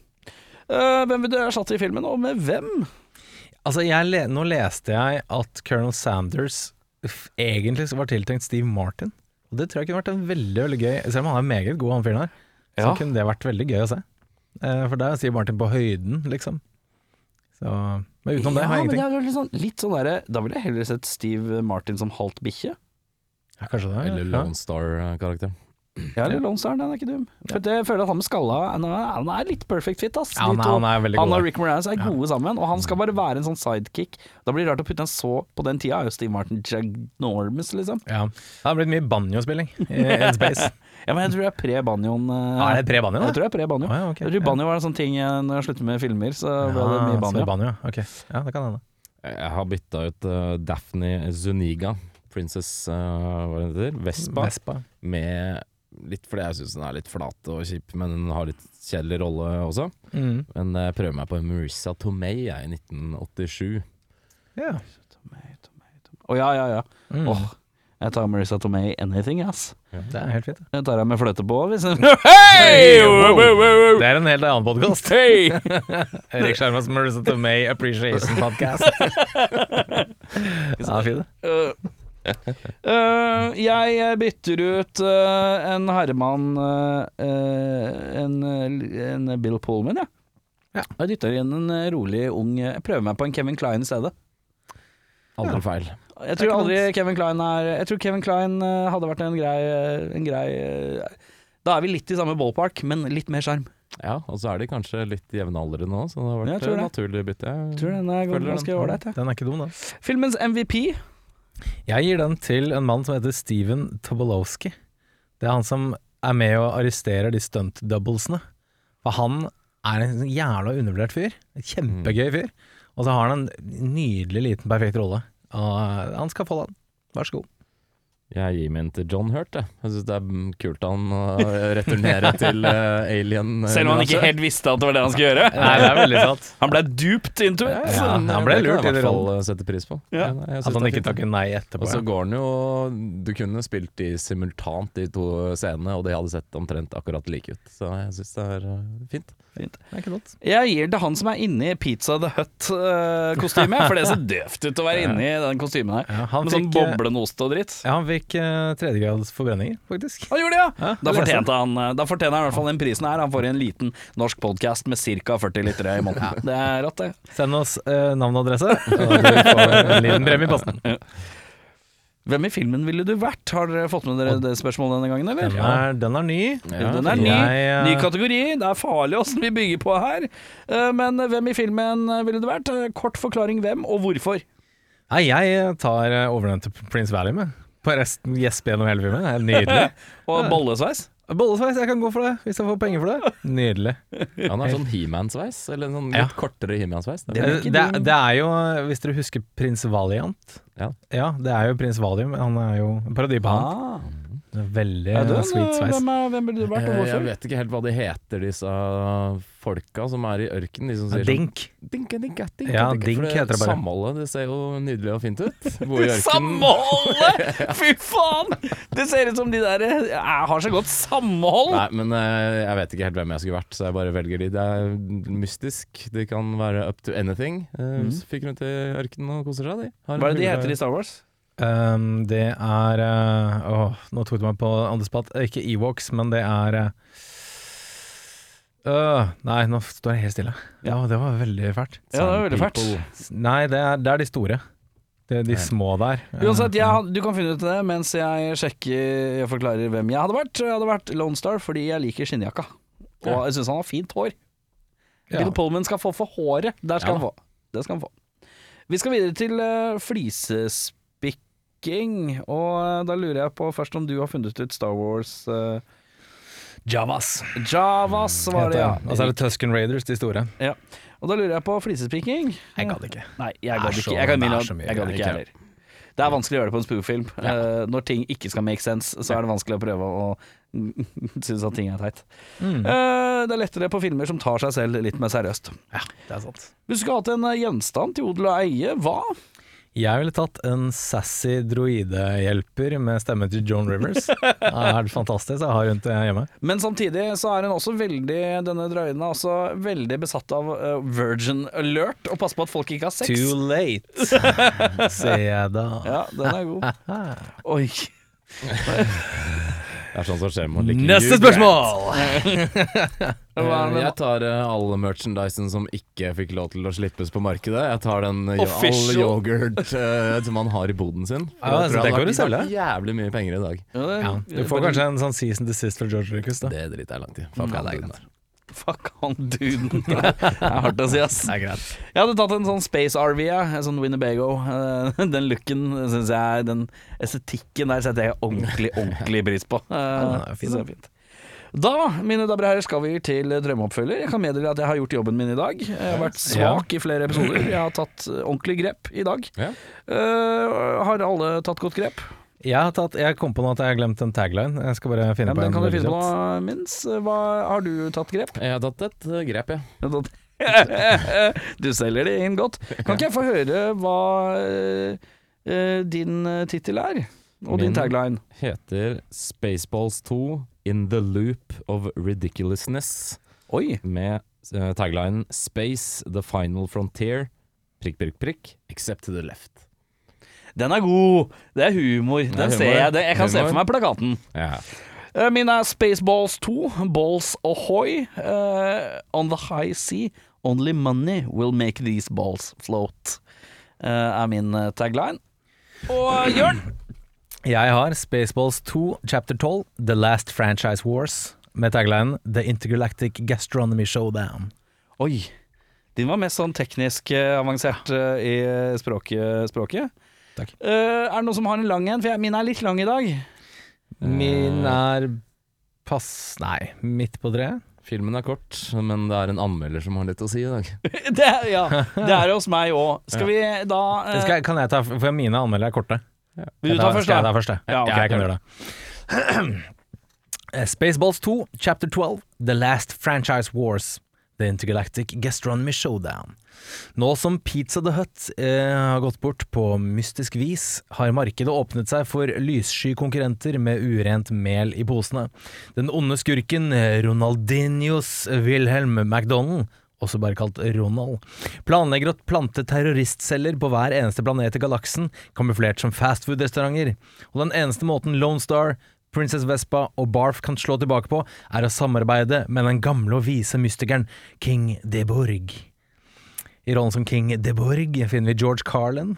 Eh, hvem vil du erstatte i filmen, og med hvem? Altså, jeg le nå leste jeg at Colonel Sanders f egentlig var tiltenkt Steve Martin. Og det tror jeg kunne vært en veldig veldig gøy Selv om han er meget god, han fyren her, så Ja. kunne det vært veldig gøy å se. Eh, for der er Steve Martin på høyden, liksom. Så, men utenom det har ja, jeg men det ingenting. er jo litt sånn, litt sånn derre Da ville jeg heller sett Steve Martin som halvt bikkje. Ja, kanskje det. Eller ja. Lone Star-karakteren. Ja, eller Lone Star, den er ikke dum. For det- jeg føler at han med skalla han er, han er litt perfect fit, ass. Ja, han De er- to- han er veldig han god, og da. Rick Moranis er gode sammen, og han skal bare være en sånn sidekick. Da blir det rart å putte en så på den tida, er jo Steve Martin ginormous, liksom. Ja. Det har blitt mye banjospilling i In Space. Ja, men jeg tror det er pre-banjoen. eh, Ja, er det pre-banjo, da? Jeg tror det er pre-banjo. Å, ja, ok. Jeg tror banjo var en sånn ting eh, når jeg sluttet med filmer, så ble det Ah, mye så det banjo. er banjo. ja. Ok. Ja, det kan hende. Jeg har bytta ut eh, Daphne Zuniga, Princess eh, hva er det den heter? Vespa, Vespa. med Litt fordi jeg syns den er litt flat og kjip, men den har litt kjedelig rolle også. Mm. Men eh, jeg prøver meg på Marissa Tomei jeg, i 1987. Ja. Tomei, Tomei, Tomei. Å ja, ja, ja. Mm. Åh, jeg tar Marissa Tomei anything, ass. Det er helt fint. det. Jeg tar henne med fløte på, hvis Hei! Wow, wow, wow, wow. Det er en helt annen podkast. Hei! Erik Skjermas Marissa Tomei Appreciation Podcast. ja, fin. Øh. Øh, jeg bytter ut øh, en herremann øh, øh, en, øh, en Bill Pullman, jeg. Ja. Jeg dytter inn en øh, rolig ung Jeg prøver meg på en Kevin Klein i stedet. Aldri feil. Jeg tror aldri Kevin Klein er Jeg tror Kevin Klein øh, hadde vært en grei, øh, en grei øh, Da er vi litt i samme ballpark, men litt mer sjarm. Ja, og så er de kanskje litt jevnaldrende nå, så det har Ja, jeg vært tror et det. naturlig bytte. Jeg Tror den er føler den. ganske ålreit. jeg. Den er ikke dum, da. Filmens MVP. Jeg gir den til en mann som heter Steven Tobolowski. Det er han som er med og arresterer de stunt-doublesene. For han er en sånn jævla undervurdert fyr. En Kjempegøy fyr. Og så har han en nydelig, liten, perfekt rolle. Og eh, han skal få den. Vær så god. Jeg gir min til John Hurt, jeg. Jeg syns det er mm, kult han øh, returnerer til øh, alien. øh, universet. helt visste at det var det han skulle gjøre. Nei, det er veldig sant. Han ble duped into it. Ja, han ble det kan lurt i jeg i den hvert fall øh, sette pris på. Ja. nei, jeg synes At han det er ikke fint, da. takker nei etterpå. Og så Ja. går den jo Du kunne spilt de simultant, de to scenene, og de hadde sett omtrent akkurat like ut. Så jeg syns det er øh, fint. Det er ikke dumt. Jeg gir det han som er inni Pizza the Hut-kostymet, for det ser døvt ut å være inni den kostymen her. Ja, han Med sånn fikk, eh, boblende ost og dritt. Ja, han fikk eh, tredjegrads forbrenninger, faktisk. Han gjorde det, ja! Ja, Da jeg leste fortjente han eh, Da fortjener han i hvert fall den prisen her. Han får en liten norsk podkast med ca. 40 liter i måneden. Det er rått, det. Send oss eh, navn og adresse, og du får en liten premie i posten. Hvem i filmen ville du vært? Har dere fått med dere det spørsmålet denne gangen, eller? Den er, den er ny. Den er ny, Jeg, eh, ny kategori. Det er farlig åssen vi bygger på her. Eh, Men hvem i filmen ville det vært? Eh, Kort forklaring hvem, og hvorfor. Nei, jeg tar eh, overnevnte Prince Valley med. På resten gjesper gjennom hele filmen. Det er nydelig. Og bollesveis. Bollesveis, jeg kan gå for det, hvis jeg får penger for det. Nydelig. Han har sånn He-Man-sveis, eller en sånn litt Ja. kortere He-Man-sveis. Det er Eh, ikke Det, dum. det er jo, eh, hvis dere husker Prins Valiant Ja. det er jo prins Valium. Han er jo en parodi på han. Ah. Det er Veldig Er det, eh, sweet sveis. hvem, er, hvem ville du vært, og Eh, Jeg hvorfor? vet ikke helt hva de heter, disse folka som er i ørkenen. De som sier sånn Dink. Dinke, dinke, dinke, Ja, dinke. dink For det heter det bare. Samholdet, det ser jo nydelig og fint ut. Bo i ørkenen. Samholdet! Fy faen! Det ser ut som de der eh, har så godt samhold. Nei, men eh, jeg vet ikke helt hvem jeg skulle vært, så jeg bare velger de. Det er mystisk, de kan være up to anything. Eh, så Fikk rundt i ørkenen og koser seg, de. Har Mhm. Hva er det de mulighet- heter i Star Wars? Um, det er eh, Åh, nå tok du meg på andre spatt. Ikke Ewoks, men det er eh, øh, Nei, nå står jeg helt stille. Ja, det var veldig fælt. Ja, det var veldig fælt. People. Nei, det er, det er de store. Det er de små der. Uansett, jeg, had- du kan finne ut av det mens jeg sjekker Jeg forklarer hvem jeg hadde vært. Jeg hadde vært Lone Star fordi jeg liker skinnjakka. Og jeg syns han har fint hår. Ja. Bill Pullman skal få for håret. Der skal Ja han få. Det skal han få. Vi skal videre til eh, flisespikking, og eh, da lurer jeg på først om du har funnet ut Star Wars eh, Javas. Javas, var det, Altså, ja. Eh, Og så er det Tusken Raiders, de store. ja. Og da lurer jeg på flisespikking. Jeg gadd ikke. Nei, jeg Det er gadd ikke. så- Jeg kan det er minne så om mye Jeg gadd greier. ikke heller. Det er vanskelig å gjøre det på en spoof-film. Eh, når ting ikke skal make sense, så er det vanskelig å prøve å synes at ting er teit. Mm. Eh, det er lettere på filmer som tar seg selv litt mer seriøst. Det er sant. Hvis du skulle hatt en eh, gjenstand til odel og eie, hva? Jeg ville tatt en sassy droidehjelper med stemme til Joan Rivers. Det er helt fantastisk. Jeg har rundt det hjemme. Men samtidig så er hun også veldig Denne drøyen er også veldig besatt av eh, virgin alert, og passe på at folk ikke har sex. Too late, sier jeg da. Ja, den er god. Oi. Det er sånn som skjer med å like Neste you, spørsmål! Hva er Eh, det Jeg tar eh, alle merchandisen som ikke fikk lov til å slippes på markedet. Jeg tar den eh, all Official. yoghurt eh, som han har i boden sin. Ja, Jeg så det tror han kan har du selge. vært jævlig mye penger i dag. Ja, det- Ja, du får kanskje en sånn season desist fra George Lucas, da. Det driter jeg langt i. Fuck han duden der. Fuck han duden. Det er hardt å si, ass. er greit. Jeg hadde tatt en sånn Space RV, jeg. en sånn Winnebago. Eh, Den looken syns jeg Den estetikken der setter jeg ordentlig, ordentlig pris på. Eh, den er jo fin, så da. det er fint. Da, mine damer og herrer, skal vi til drømmeoppfølger. Jeg kan meddele at jeg har gjort jobben min i dag. Jeg har vært svak i flere episoder. Jeg har tatt eh, ordentlig grep i dag. Ja. Eh, har alle tatt godt grep? Jeg, har tatt, jeg kom på nå at jeg har glemt en tagline. Jeg skal bare finne Ja, på men den en. kan du veldig finne på kjapt. minst. Hva, har du tatt grep? Jeg har tatt et eh, grep, jeg. Du selger det inn godt. Kan ikke jeg få høre hva eh, din eh, tittel er? Og Min? din tagline? Heter Spaceballs 2 In the Loop of Ridiculousness. Oi! Med eh, taglinen Space the final frontier Prikk, prikk, prikk Except to the left. Den er god! Det er humor. Den er humor, ser jeg. Det, jeg kan se humor. for meg plakaten. Ja. Eh, Min er Spaceballs 2, Balls Ahoy. eh, on the high sea, only money will make these balls float. eh, er min eh, tagline. Og Jørn, Jeg har Spaceballs 2, chapter 12, The Last Franchise Wars, med taglinen The Intergalactic Gastronomy Showdown. Oi, din var mest sånn teknisk eh, avansert eh, i språket. språket. Takk. Eh, er det noen som har en lang en? For jeg, min er litt lang i dag. Eh. Min er pass... Nei, midt på treet. Eh. Filmen er kort, men det er en anmelder som har litt å si i dag. det, ja, det er hos meg òg. Skal vi da eh, Skal, jeg- kan jeg ta, for mine anmelder er korte. Vil du ta Da først, Skal jeg ta da? først, da? Ja, ok. jeg kan gjøre det. Eh, Spaceballs 2, chapter 12, The Last Franchise Wars, The Intergalactic Gastronomy Showdown. Nå som Pizza The Hut eh, har gått bort på mystisk vis, har markedet åpnet seg for lyssky konkurrenter med urent mel i posene. Den onde skurken eh, Ronaldinhos Wilhelm McDonald, også bare kalt Ronald, planlegger å plante terroristceller på hver eneste planet i galaksen, kamuflert som fastfood-restauranter. Og den eneste måten Lone Star, Princess Vespa og Barf kan slå tilbake på, er å samarbeide med den gamle og vise mystikeren King de Borg. I rollen som King de Borg finner vi George Carlin.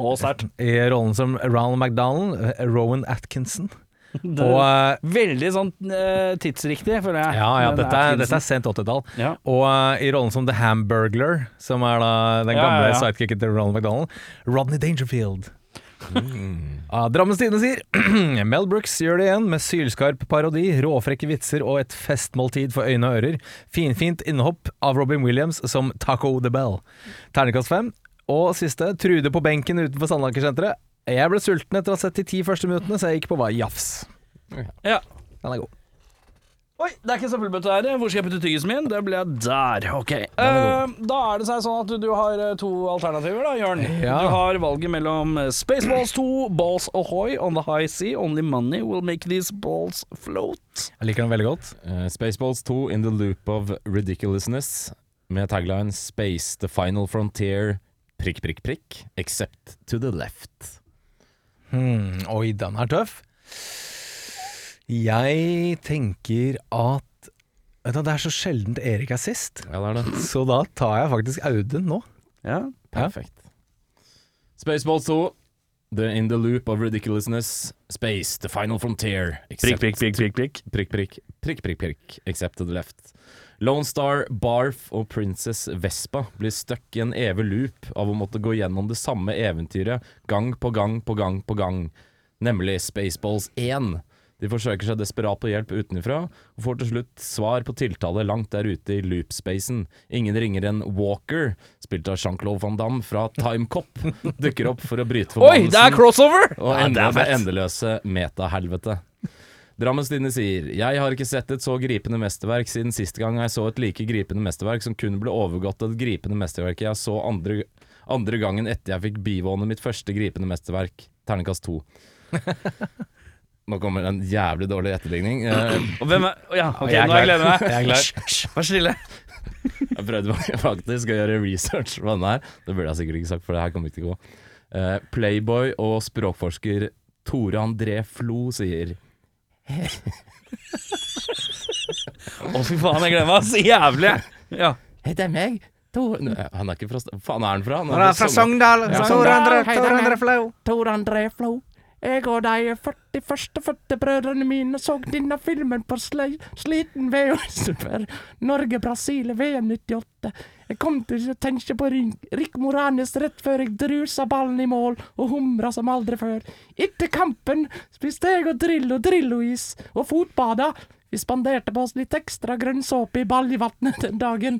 Å, sterkt. I rollen som Ronald McDonald, eh, Rowan Atkinson. Og eh, Veldig sånn eh, tidsriktig, føler jeg. Ja, ja, Den dette er, dette tiden. er sent 80-tall. Ja. Og eh, i rollen som The Hamburglar, som er da den Ja, gamle ja, ja. sidekicken til Ronald McDonald, Rodney Dangerfield. Ah, Drammens Tidende sier Mel Brooks gjør det igjen med sylskarp parodi, råfrekke vitser og et festmåltid for øyne og ører. Finfint innhopp av Robin Williams som Taco the Bell. Ternekast fem. Og siste, Trude på benken utenfor Sandlakersenteret. Jeg ble sulten etter å ha sett de ti første minuttene, så jeg gikk på hva jafs. Ja. Den er god. Oi, det er ikke søppelbøtte her. Hvor skal jeg putte tyggisen min? Det ble der. Ok. Eh, da er det seg sånn at du, du har eh, to alternativer, da, Jørn. Ja. Du har valget mellom eh, Spaceballs 2, Balls Ahoy, On the High Sea, Only Money Will Make These Balls Float. Jeg liker den veldig godt. Eh, Spaceballs 2 In the Loop of Ridiculousness med tagline Space the final frontier prikk, prikk, prikk, except to the left. Hmm, oi, den er tøff. Jeg tenker at Vet du, hva, Det er så sjeldent Erik er sist, Ja, det er det. så da tar jeg faktisk Audun nå. Ja. Perfekt. Spaceballs 2 the In the Loop of Ridiculousness Space the final frontier Prikk, except- prikk, prikk, prikk, prikk. prikk, prikk, prikk, prikk, prikk, except to the left. Lone Star, Barf og Princess Vespa blir stuck i en evig loop av å måtte gå gjennom det samme eventyret gang på gang på gang på gang, nemlig Spaceballs 1. De forsøker seg desperat på hjelp utenfra, og får til slutt svar på tiltale langt der ute i loopspacen. Ingen ringer enn Walker, spilt av Jean-Claude Van Damme fra Time Cop, dukker opp for å bryte Oi, det er crossover! og Ja, det endre er det, fett. endeløse metahelvete. Drammens Tidende sier Jeg har ikke sett et så gripende mesterverk siden siste gang jeg så et like gripende mesterverk som kun ble overgått av det gripende mesterverket jeg så andre, andre gangen etter jeg fikk bivåne mitt første gripende mesterverk, terningkast to. Nå kommer en jævlig dårlig etterligning. Eh, Og hvem er Ja, ok, Jeg er nå er jeg klar. gleder meg. Jeg er klar. Hysj, hysj, Vær stille. Jeg prøvde faktisk å gjøre research på denne her. Det burde jeg sikkert ikke sagt, for det her kommer ikke til å gå. Eh, Playboy og språkforsker Tore André Flo sier Å, fy faen, jeg gleder meg så jævlig. Ja. Hei, det er meg. Tor Nei, Han er ikke fra St- Faen, er han fra? Han Han er fra Sogn. Sogndal. Ja. Tor André- Hei, Tor den er- André Flau. Tor André Flo. Jeg og de 40 førstefødte brødrene mine så denne filmen på sle sliten VHS for Norge-Brasil i VM 98. Jeg kom til å tenke på Ring- Rick Moranes rett før jeg drusa ballen i mål og humra som aldri før. Etter kampen spiste jeg og Drillo Drillo-is og fotbada. Vi spanderte på oss litt ekstra grønn såpe i baljevannet den dagen.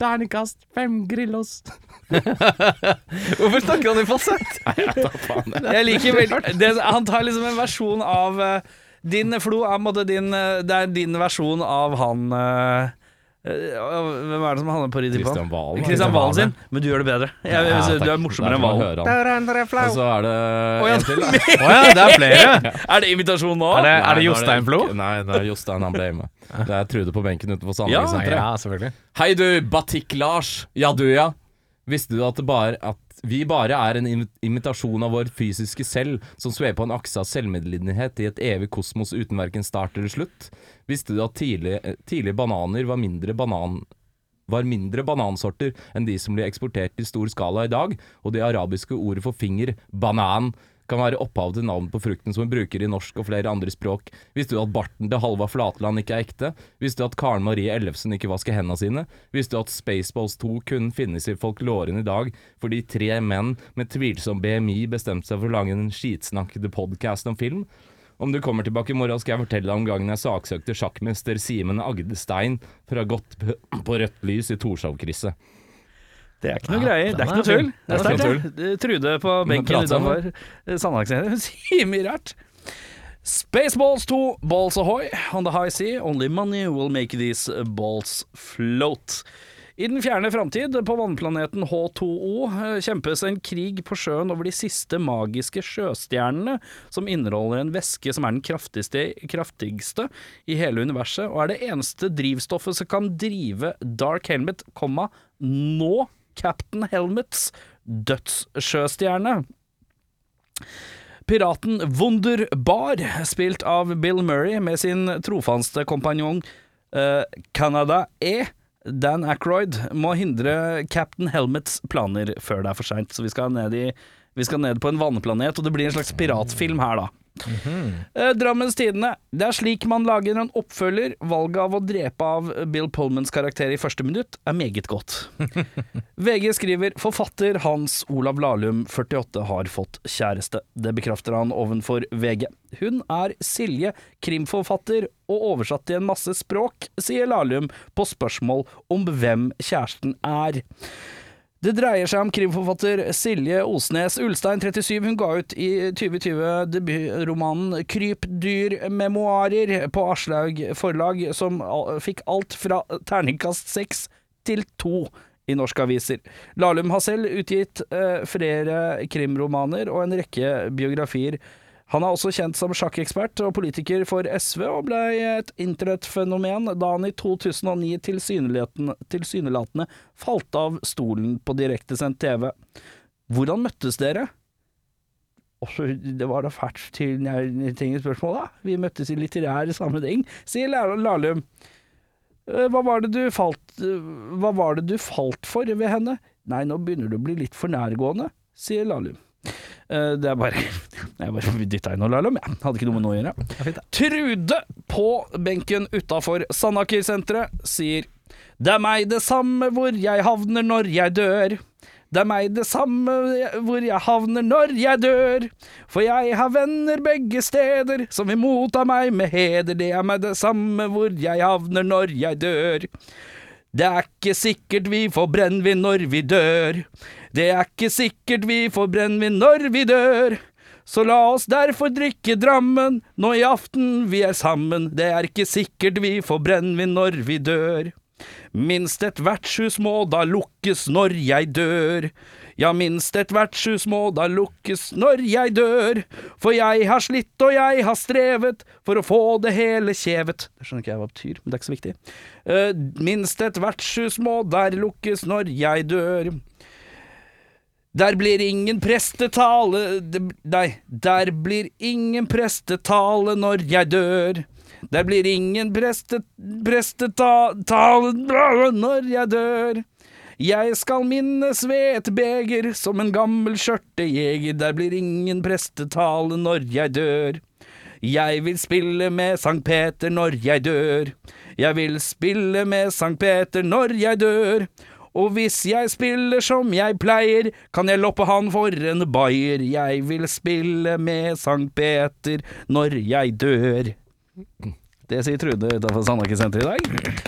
Terningkast fem Grillos. Hvorfor snakker han i fasett? Jeg liker vel det, Han tar liksom en versjon av eh, Din Flo er på en måte din eh, Det er din versjon av han eh, eh, Hvem er det som havner på ridderpallen? Kristian Valen. Kristian Valen sin, men du gjør det bedre. Jeg, Ja, så du takk. er morsommere Der enn får man Valen. høre han. Og så er det en til. da. Å ja, det er flere. Er det invitasjon nå? Er det, Altså, er det Nei, nå Jostein Flo? ikke- Nei, det er Jostein han ble med. Det er Trude på benken utenfor Sandringssenteret. ja, selvfølgelig. Hei du, Batikk-Lars. Ja du, ja. Visste du at, det bare, at vi bare er en im- imitasjon av vår fysiske selv, som svever på en akse av selvmedlidenhet i et evig kosmos uten hverken start eller slutt? Visste du at tidlig, eh, tidlige bananer var mindre banan var mindre banansorter enn de som blir eksportert i stor skala i dag, og det arabiske ordet for finger, banan, kan være opphavet til navnet på frukten som vi bruker i norsk og flere andre språk. Visste du at barten til Halvard Flatland ikke er ekte? Visste du at Karen Marie Ellefsen ikke vasker hendene sine? Visste du at Spaceballs 2 kun finnes i folkloren i dag fordi tre menn med tvilsom BMI bestemte seg for å lage en skitsnakkete podkast om film? Om du kommer tilbake i morgen, skal jeg fortelle deg om gangen jeg saksøkte sjakkmester Simen Agdestein for å ha gått p- på rødt lys i Torshov-krysset. Det er ikke noe greier. Det er ikke noe Den tull. er Det er fin. sterkt, Den er ja. Trude på benken prater om utenfor Sandhagssenteret. Hun sier mye rart. Spaceballs 2, balls ahoy. On the high sea, only money will make these balls float. I den fjerne framtid, på vannplaneten H2O, eh, kjempes en krig på sjøen over de siste magiske sjøstjernene, som inneholder en væske som er den kraftigste, kraftigste i hele universet, og er det eneste drivstoffet som kan drive Dark Helmet, komma, nå Captain Helmets dødssjøstjerne. Piraten Wunderbar, spilt av Bill Murray med sin trofaste kompanjong eh, Canada E. Dan Aykroyd må hindre Captain Helmets planer før det er for seint. Så vi skal, ned i, vi skal ned på en vannplanet, og det blir en slags piratfilm her, da. Eh, Drammens Tidende. Det er slik man lager en oppfølger. Valget av å drepe av Bill Polmans karakter i første minutt er meget godt. VG skriver forfatter Hans Olav Lahlum, 48, har fått kjæreste. Det bekrefter han ovenfor VG. Hun er Silje, krimforfatter og oversatt til en masse språk, sier Lahlum på spørsmål om hvem kjæresten er. Det dreier seg om krimforfatter Silje Osnes Ulstein, 37. Hun ga ut i 2020 debutromanen 'Krypdyrmemoarer' på Aslaug forlag, som al- fikk alt fra terningkast seks til to i norske aviser. Lahlum har selv utgitt eh, flere krimromaner og en rekke biografier. Han er også kjent som sjakkekspert og politiker for SV, og ble et internettfenomen da han i 2009 tilsynelaten- tilsynelatende falt av stolen på direktesendt TV. Hvordan møttes dere? Også, det var da fælt til tinget spørsmål, da. Vi møttes i litterær sammenheng, sier Lær- Lahlum. «Eh, Hva var, det du falt, eh, hva var det du falt for ved henne? Nei, nå begynner du å bli litt for nærgående, sier Lahlum. Eh, Det er bare Jeg bare dytta inn og la dem, jeg. Hadde ikke noe med noe å gjøre. Trude på benken utafor Sandaker-senteret sier Det er meg det samme hvor jeg havner når jeg dør. Det er meg det samme hvor jeg havner når jeg dør. For jeg har venner begge steder som vil motta meg med heder. Det er meg det samme hvor jeg havner når jeg dør. Det er ikke sikkert vi får brennevin når vi dør. Det er ikke sikkert vi får brennevin når vi dør. Så la oss derfor drikke Drammen, nå i aften vi er sammen. Det er ikke sikkert vi får brennevin når vi dør. Minst et vertshus må da lukkes når jeg dør. Ja, minst et vertshus må da lukkes når jeg dør. For jeg har slitt og jeg har strevet for å få det hele kjevet. Det skjønner ikke jeg hva det betyr, men det er ikke så viktig. Eh, minst et vertshus må der lukkes når jeg dør. Der blir ingen prestetale det- Nei, der blir ingen prestetale når jeg dør. Der blir ingen preste, prestetale når jeg dør. Jeg skal minnes ved et beger som en gammel skjørtejeger. Der blir ingen prestetale når jeg dør. Jeg vil spille med Sankt Peter når jeg dør. Jeg vil spille med Sankt Peter når jeg dør. Og hvis jeg spiller som jeg pleier, kan jeg loppe han for en bayer. Jeg vil spille med Sankt Peter når jeg dør. Det sier Trude utenfor Sandhagen-senteret i dag.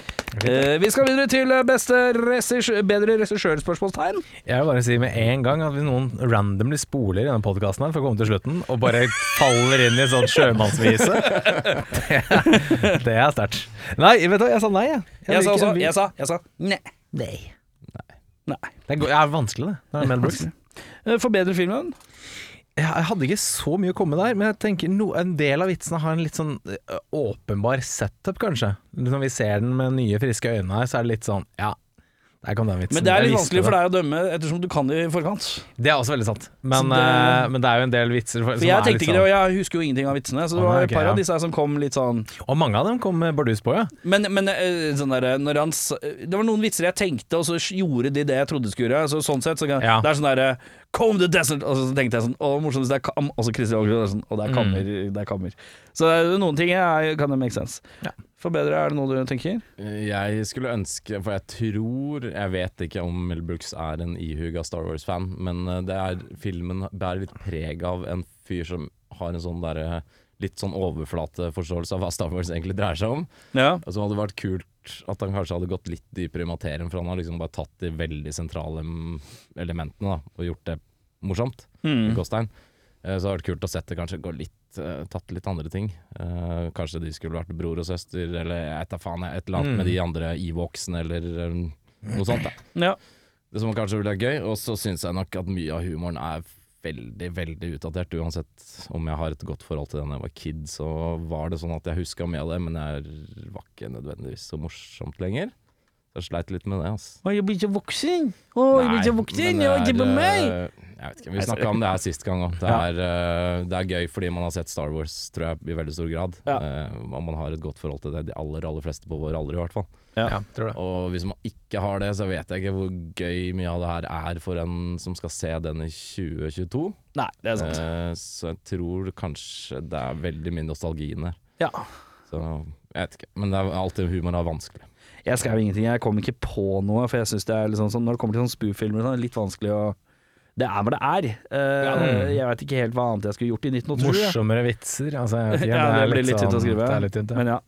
Eh, vi skal videre til beste regissør, bedre regissørspørsmålstegn. Jeg vil bare si med en gang at hvis noen randomly spoler i denne podkasten her for å komme til slutten, og bare faller inn i en sånn sjømannsvise Det, det er sterkt. Nei, vet du hva, jeg sa nei, jeg. Jeg sa liker- også Jeg sa, jeg sa nei. Nei. Det er, go- det er vanskelig, det. det er Mel Brooks. Eh, For bedre filmen. Jeg hadde ikke så mye å komme der, men jeg tenker no, en del av vitsene har en litt sånn ø, åpenbar setup, kanskje. Når vi ser den med nye, friske øyne her, så er det litt sånn Ja, der kom den vitsen. Men det er Jeg litt visste vanskelig for det. deg å dømme, ettersom du kan det i forkant. Det er også veldig sant. Men Så det, det- men det er sånn- jo en del vitser for, For jeg tenkte ikke det, og jeg husker jo ingenting av vitsene. Så det Å, var nei, et ok, par ja. av disse her som kom litt sånn Og mange av dem kom med bardus på, ja. Men, men eh, sånn der, når han s- Det var noen vitser jeg tenkte, og så gjorde de det jeg trodde de skulle gjøre. Så, sånn sett, så kan, Ja. Det er sånn derre Comb the desert! Og så tenkte jeg sånn Å, morsomt hvis det er kam Og så Christian August, og det er sånn, og det Mm. er kammer. Det er kammer. Så det er noen ting er, kan det make sense. Ja. Forbedre, er det noe du tenker? Jeg skulle ønske, for jeg tror Jeg vet ikke om Mel Brooks er en ihuga Star Wars-fan, men eh, det er, filmen bærer litt preg av en fyr som har en sånn derre Litt sånn overflateforståelse av hva Star Wars egentlig dreier seg om. Ja. Og så hadde det vært kult at han kanskje hadde gått litt dypere i materien, for han har liksom bare tatt de veldig sentrale mm, elementene da, og gjort det morsomt. Mm. i Gåstein. Eh, Så det hadde vært kult å sett det kanskje gå litt, eh, tatt litt andre ting. Eh, Kanskje de skulle vært bror og søster, eller jeg vet da faen, jeg, et eller annet Mm. med de andre Evoksene, eller eh, noe sånt. Da. ja. Det som kanskje ville vært gøy. Og så syns jeg nok at mye av humoren er veldig, veldig utdatert. Uansett om jeg har et godt forhold til den da jeg var kid, så var det sånn at jeg huska mye av det, men jeg var ikke nødvendigvis så morsomt lenger. Så jeg sleit litt med det, altså. Å, jeg blir ikke voksen! Å, men det er, eh, Jeg vet ikke, Vi snakka om det her sist gang òg. Det, Ja. er, eh, det er gøy fordi man har sett Star Wars tror jeg, i veldig stor grad. Ja. Eh, og man har et godt forhold til det, de aller aller fleste på vår alder i hvert fall. Ja. tror det. Og hvis man ikke har det, så vet jeg ikke hvor gøy mye av det her er for en som skal se den i 2022. Nei, det er sant. Eh, så jeg tror kanskje det er veldig mye nostalgi der. Ja. Så jeg vet ikke. Men det er alltid humor er vanskelig. Jeg skrev ingenting. Jeg kom ikke på noe, for jeg syns det er litt sånn, sånn Når det kommer til sånne spoof-filmer, og sånn, er det litt vanskelig å Det er hva det er. Eh, Jeg veit ikke helt hva annet jeg skulle gjort i 1987. jeg. Morsommere vitser. Altså, jeg vet ikke, Ja, det, blir litt sånn- tynt å skrive. Det er litt tynt, ja. Men ja.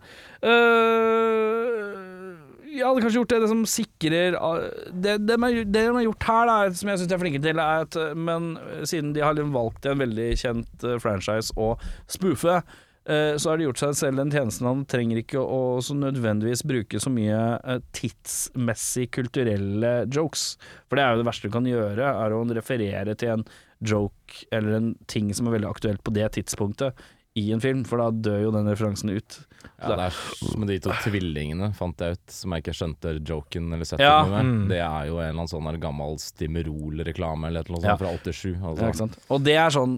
Eh, jeg hadde kanskje gjort det, det som sikrer ah, Det, det, man, det man har gjort her, da, som jeg syns de er flinke til, er at øh, Men siden de har liksom valgt en veldig kjent eh, franchise å spoofe, eh, så har de gjort seg selv den tjenesten han trenger ikke å så nødvendigvis bruke så mye eh, tidsmessig kulturelle jokes. For det er jo det verste du kan gjøre, er å referere til en joke eller en ting som er veldig aktuelt på det tidspunktet i en film, for da dør jo den referansen ut. Ja, det er s- med de to tvillingene, fant jeg ut, som jeg ikke skjønte joken Ja, eller settingen med. mm. Det er jo en eller annen sånn der gammel Stimrol-reklame eller et eller Ja. annet sånt fra 87. Ja, ikke Altså. sant? Og det er sånn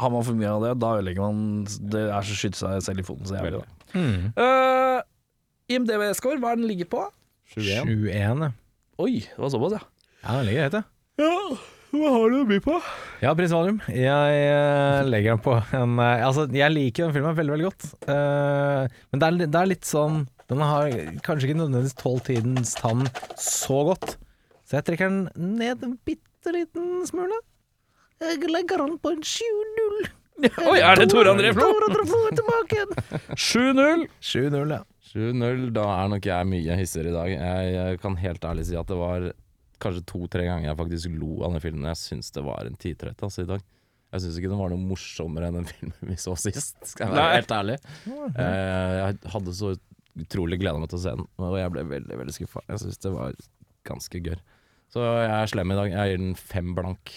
Har man for mye av det, da ødelegger man Det er så å skyte seg selv i foten så jævlig. Veldig. da. Mm. Eh, IMDv-score, hva er den ligger på? 21. 7-1, ja. Oi, det var såpass, ja. Ja, den ligger høyt, ja. Ja, hva har du å by på? Ja, Prins Valium. Jeg eh, legger den på en eh, Altså, jeg liker den filmen veldig, veldig godt. Eh, men det er, li- det er litt sånn Den har kanskje ikke nødvendigvis tålt tidens tann så godt. Så jeg trekker den ned en bitte liten smule. Jeg legger den på en 7-0. Oi, er det Tor André Flo? Tor André Flo er tilbake igjen! 7-0. 7-0, ja. 7-0, da er nok jeg mye hissigere i dag. Jeg, eh, kan helt ærlig si at det var kanskje to-tre ganger jeg faktisk lo av den filmen. Jeg syns det var en 10-30 altså, i dag. Jeg syns ikke den var noe morsommere enn den filmen vi så sist, skal jeg være Nei. helt ærlig. Eh, jeg hadde så utrolig gleda meg til å se den, og jeg ble veldig veldig skuffa. Jeg syns det var ganske gørr. Så jeg er slem i dag. Jeg gir den fem blank.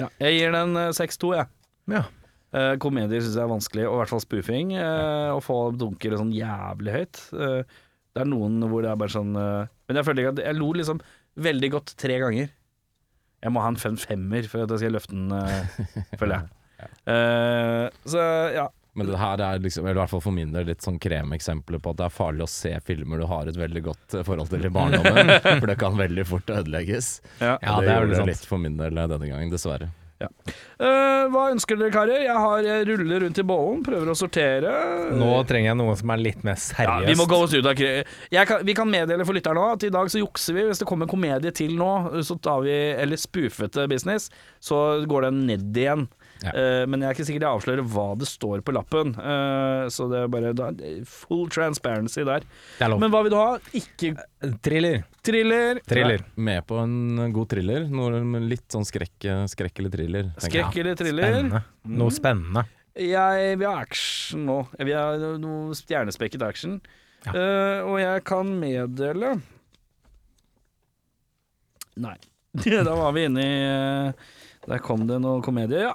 Ja, jeg gir den eh, 6-2, jeg. ja. Eh, komedier syns jeg er vanskelig, og i hvert fall spoofing. eh, å få dunker sånn jævlig høyt. Eh, det er noen hvor det er bare sånn eh, Men jeg føler ikke at Jeg lo liksom veldig godt tre ganger. Jeg må ha en fem femmer for at jeg skal løfte den, eh, føler jeg. Eh, så ja. Men det her er liksom, eller i hvert fall for min del, litt sånn kremeksempler på at det er farlig å se filmer du har et veldig godt eh, forhold til i barndommen, for det kan veldig fort ødelegges. ja. Ja, Og det er gjorde veldig sant. litt for min del eh, denne gangen, dessverre. Eh, hva ønsker dere, karer? Jeg har jeg ruller rundt i bollen, prøver å sortere. Nå trenger jeg noe som er litt mer seriøst. Ja, vi må gå oss ut av kre... Jeg kan, vi kan meddele for lytteren nå at i dag så jukser vi. Hvis det kommer komedie til nå, så tar vi Eller spoofete business, så går den ned igjen. Ja. Eh, men jeg er ikke sikker jeg avslører hva det står på lappen. Eh, så det er bare da, full transparency der. Det er lov. Men hva vil du ha? Ikke Thriller. thriller. Thriller. Med på en god thriller. Noe med litt sånn skrekk, skrekk eller thriller. tenker jeg. Skrekk eller thriller? Spennende. Noe spennende. Jeg vil ha action nå. Jeg vil ha noe stjernespekket action. Ja. Eh, og jeg kan meddele Nei. da var vi inne i eh, Der kom det noe komedie, ja.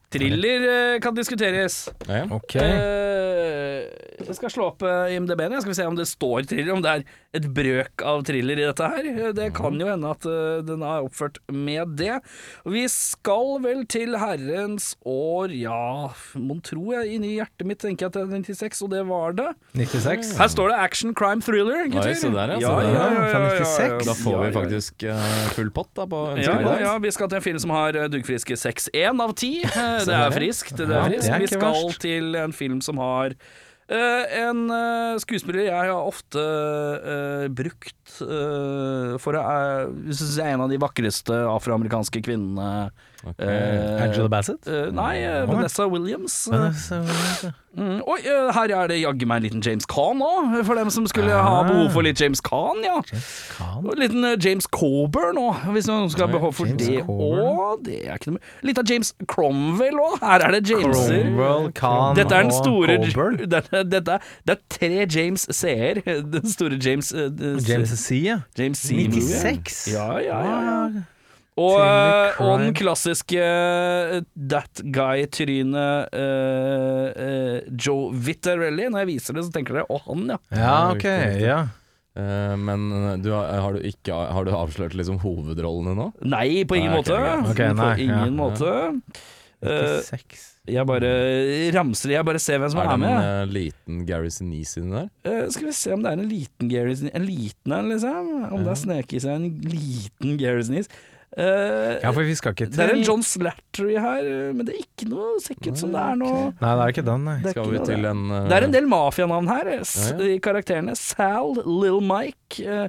Thriller eh, kan diskuteres. Ja, ja. Ok. Eh, jeg skal slå opp eh, IMDb-en. Jeg skal vi se om det står thriller, om det er et brøk av thriller i dette her. Eh, Det kan jo hende at eh, den er oppført med det. Vi skal vel til herrens år, ja, mon tro jeg, inni hjertet mitt tenker jeg at det er 96, og det var det. 96. Her står det action crime thriller, gutter. Oi, se der, ja, se ja, ja, ja, der, ja. ja, ja, ja, Fra ja. Da får Ja, ja, vi ja. faktisk eh, full pott da, på Ja, ønsket ja, i dag. ja, vi skal til en film som har eh, duggfriske 6. 1 av 10. Eh, Det er friskt. Det Ja, er det er friskt. Vi ikke skal verst. til en film som har eh, en eh, skuespiller jeg har ofte eh, brukt eh, for å eh, Jeg syns jeg er en av de vakreste afroamerikanske kvinnene. Ok. eh, Angela Bassett. eh, nei, eh, Nei. Vanessa Williams. Ja, det er så- Mm, oi, eh, her er det jaggu meg en liten James Caan òg, for dem som skulle ha Ah. behov for litt James Caan, ja. Kan. Og En liten eh, James Coburn òg, hvis noen skal ha behov for James det Coburn. òg. Det er ikke noe Litt av James Cromwell òg. Her er det Jameser. Cromwell, Khan Dette er den store og Coburn. dette, dette, er- Det er tre James C-er. Den store James eh, d- James C, ja. James C. 96? Ja, ja, ja. ja. Ah, Og, Thriller eh, og den crime. klassiske eh, That Guy-trynet eh, eh, Joe Vittarelli. Når jeg viser det, så tenker dere 'Å, han, ja'. Ja, ok. Ja. Eh, men eh, du, har, har, du ikke, har du avslørt liksom hovedrollene nå? Nei, på ingen Nei, ok, måte. greit. Ok, nei, på ja, ingen ja. måte. Eh, 96. Jeg bare ramser Jeg bare ser hvem som Er er, det en med. eh, liten Gary Sinise inni der? Eh, skal vi se om det er en liten Garrison En liten en, liksom? Om det er snek i seg en liten Garrison Is. Ja, for vi skal ikke til det er en John Slattery her, eh, men det er ikke noe Ser ikke ut som det er noe Nei, det er ikke den, nei. Det er, Skal ikke vi noe til det. en eh, det er en del mafianavn her, eh, s Ja, ja. i karakterene. Sal, Lill Mike, eh,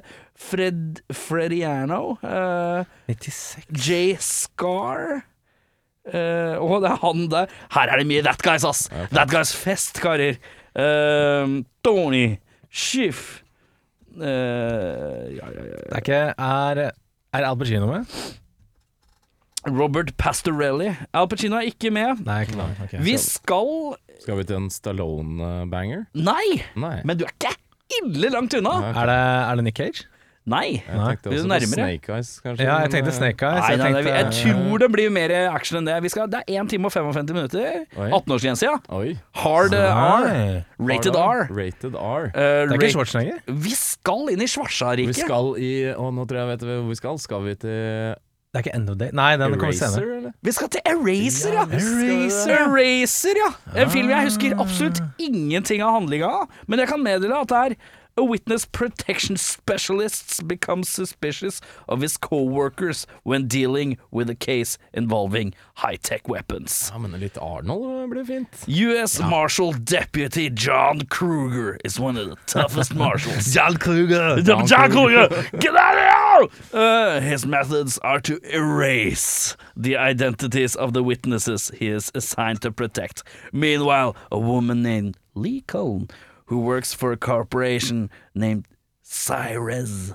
Fred Frediano, eh, 96. Jay Scar Eh, Å, det er han der. Her er det mye That Guys, ass! That Guys Fest, karer. Eh, Tony Schiff Eh, ja, ja, ja. Det er ikke Er, er Al Pacino med? Robert Pastorelli. Al Pacino er ikke med. Nei, ikke den. ok. Vi skal Skal vi til en Stallone-banger? Nei! Nei. Men du er ikke ille langt unna! Er det, er det Nick Cage? Nei. Jeg tenkte Nei. også Nærmere. på Snake Eyes, kanskje. Ja, jeg men, eh, tenkte Snake Eyes. Nei, nei, nei, tenkte, jeg tror det blir mer action enn det. Vi skal, det er 1 time og 55 minutter. Oi. 18-årsgrense, ja. Oi. Hard eh, R. Nei. Rated R. Rated R. Eh, Det er rate- ikke Schwarzenegger? Vi skal inn i Vi Svarsa-riket. skal i Å, nå tror jeg jeg vet hvor vi skal. Skal vi til Det er ikke End of Day? Nei, den kommer senere. Eraser, eller? Vi skal til Eraser, ja! Eraser. Eraser, ja. En film jeg husker Ah. absolutt ingenting av handlinga av, men jeg kan meddele at det er A witness protection specialists become suspicious of his co-workers when dealing with a case involving high-tech weapons. Ja, men litt Arnold blir fint. US Marshal Deputy John Kruger is one of the toughest marshals. John Kruger! John, John Kruger, get out of here! Uh, his methods are to erase the identities of the witnesses he is assigned to protect. Meanwhile, a woman named Lee Cullen, who works for a corporation named Cyrez,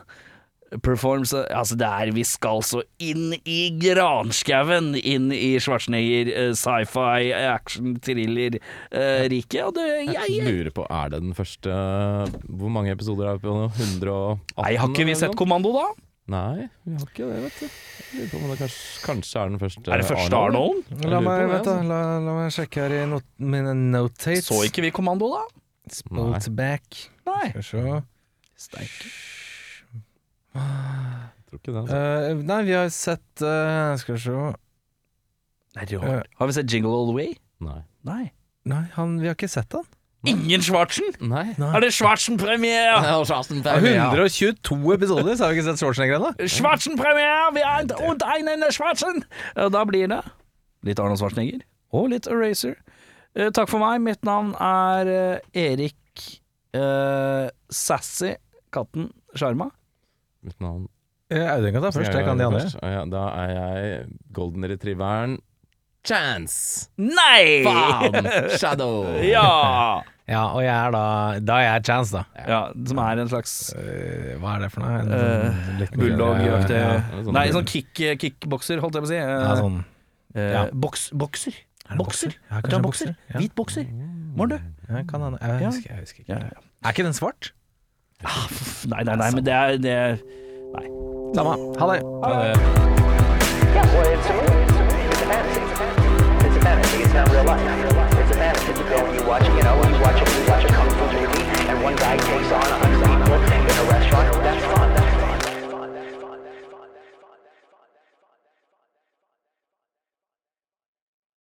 performs Altså, det er Vi skal så inn i granskauen, inn i Schwarzenegger, eh, sci-fi, action-thriller-riket. og det jeg, jeg Lurer på, er det den første Hvor mange episoder er vi på nå? 118? Nei, har ikke vi eller sett noe? Kommando, da? Nei, vi har ikke det, vet du. Jeg Lurer på om det kanskje, kanskje er den første Er det første Arnold? Jeg La lurer meg, på det, vent da, la, la meg sjekke her i not mine notates. Så ikke vi Kommando, da? Spolt back. Nei. Skal vi se. Jeg tror ikke det. Altså. Eh, nei, vi har sett eh, Skal vi se Det er rart. Har vi sett Jingle All The Way? Nei. Nei. Nei, han, vi har ikke sett han. Ingen Schwartzen? Nei. Er det Schwartzen-premiere? Det er 122 episoder, så har vi ikke sett Schwarzenegger ennå. Schwartzen-premiere! Vi er und einen Schwartzen! Ja, Da blir det litt Arnold Schwarzenegger og litt Eraser. Eh, takk for meg. Mitt navn er eh, Erik eh, Sassy Katten Sjarma. Mitt navn Eh, Audun kan ta først, jeg kan de andre. Først. Ja, Da er jeg golden retrieveren Chance! Nei! Faen! Shadow! Ja! Ja, og jeg er da Da er jeg Chance, da. ja! Som er en slags Eh, Hva er det for noe? En Eh, sånn litt- bulldog-aktig Ja, sånn- Nei, sånn kick, kickbokser, holdt jeg på å si. Eh, ja, sånn. eh, ja. boks, bokser. Er det Bokser. bokser? Ja, Er det en kanskje en bokser? bokser, ja. Hvit bokser. Morn, du. Ja, kan han, jeg, Ja. husker, jeg husker ikke. Ja, ja. Er ikke den svart? Pff, Nei, nei, nei, men det er, det er Samme. Ha det. Yeah, well, it's a movie. It's a movie. It's a fantasy. It's a fantasy. It's a fantasy. It's not real life.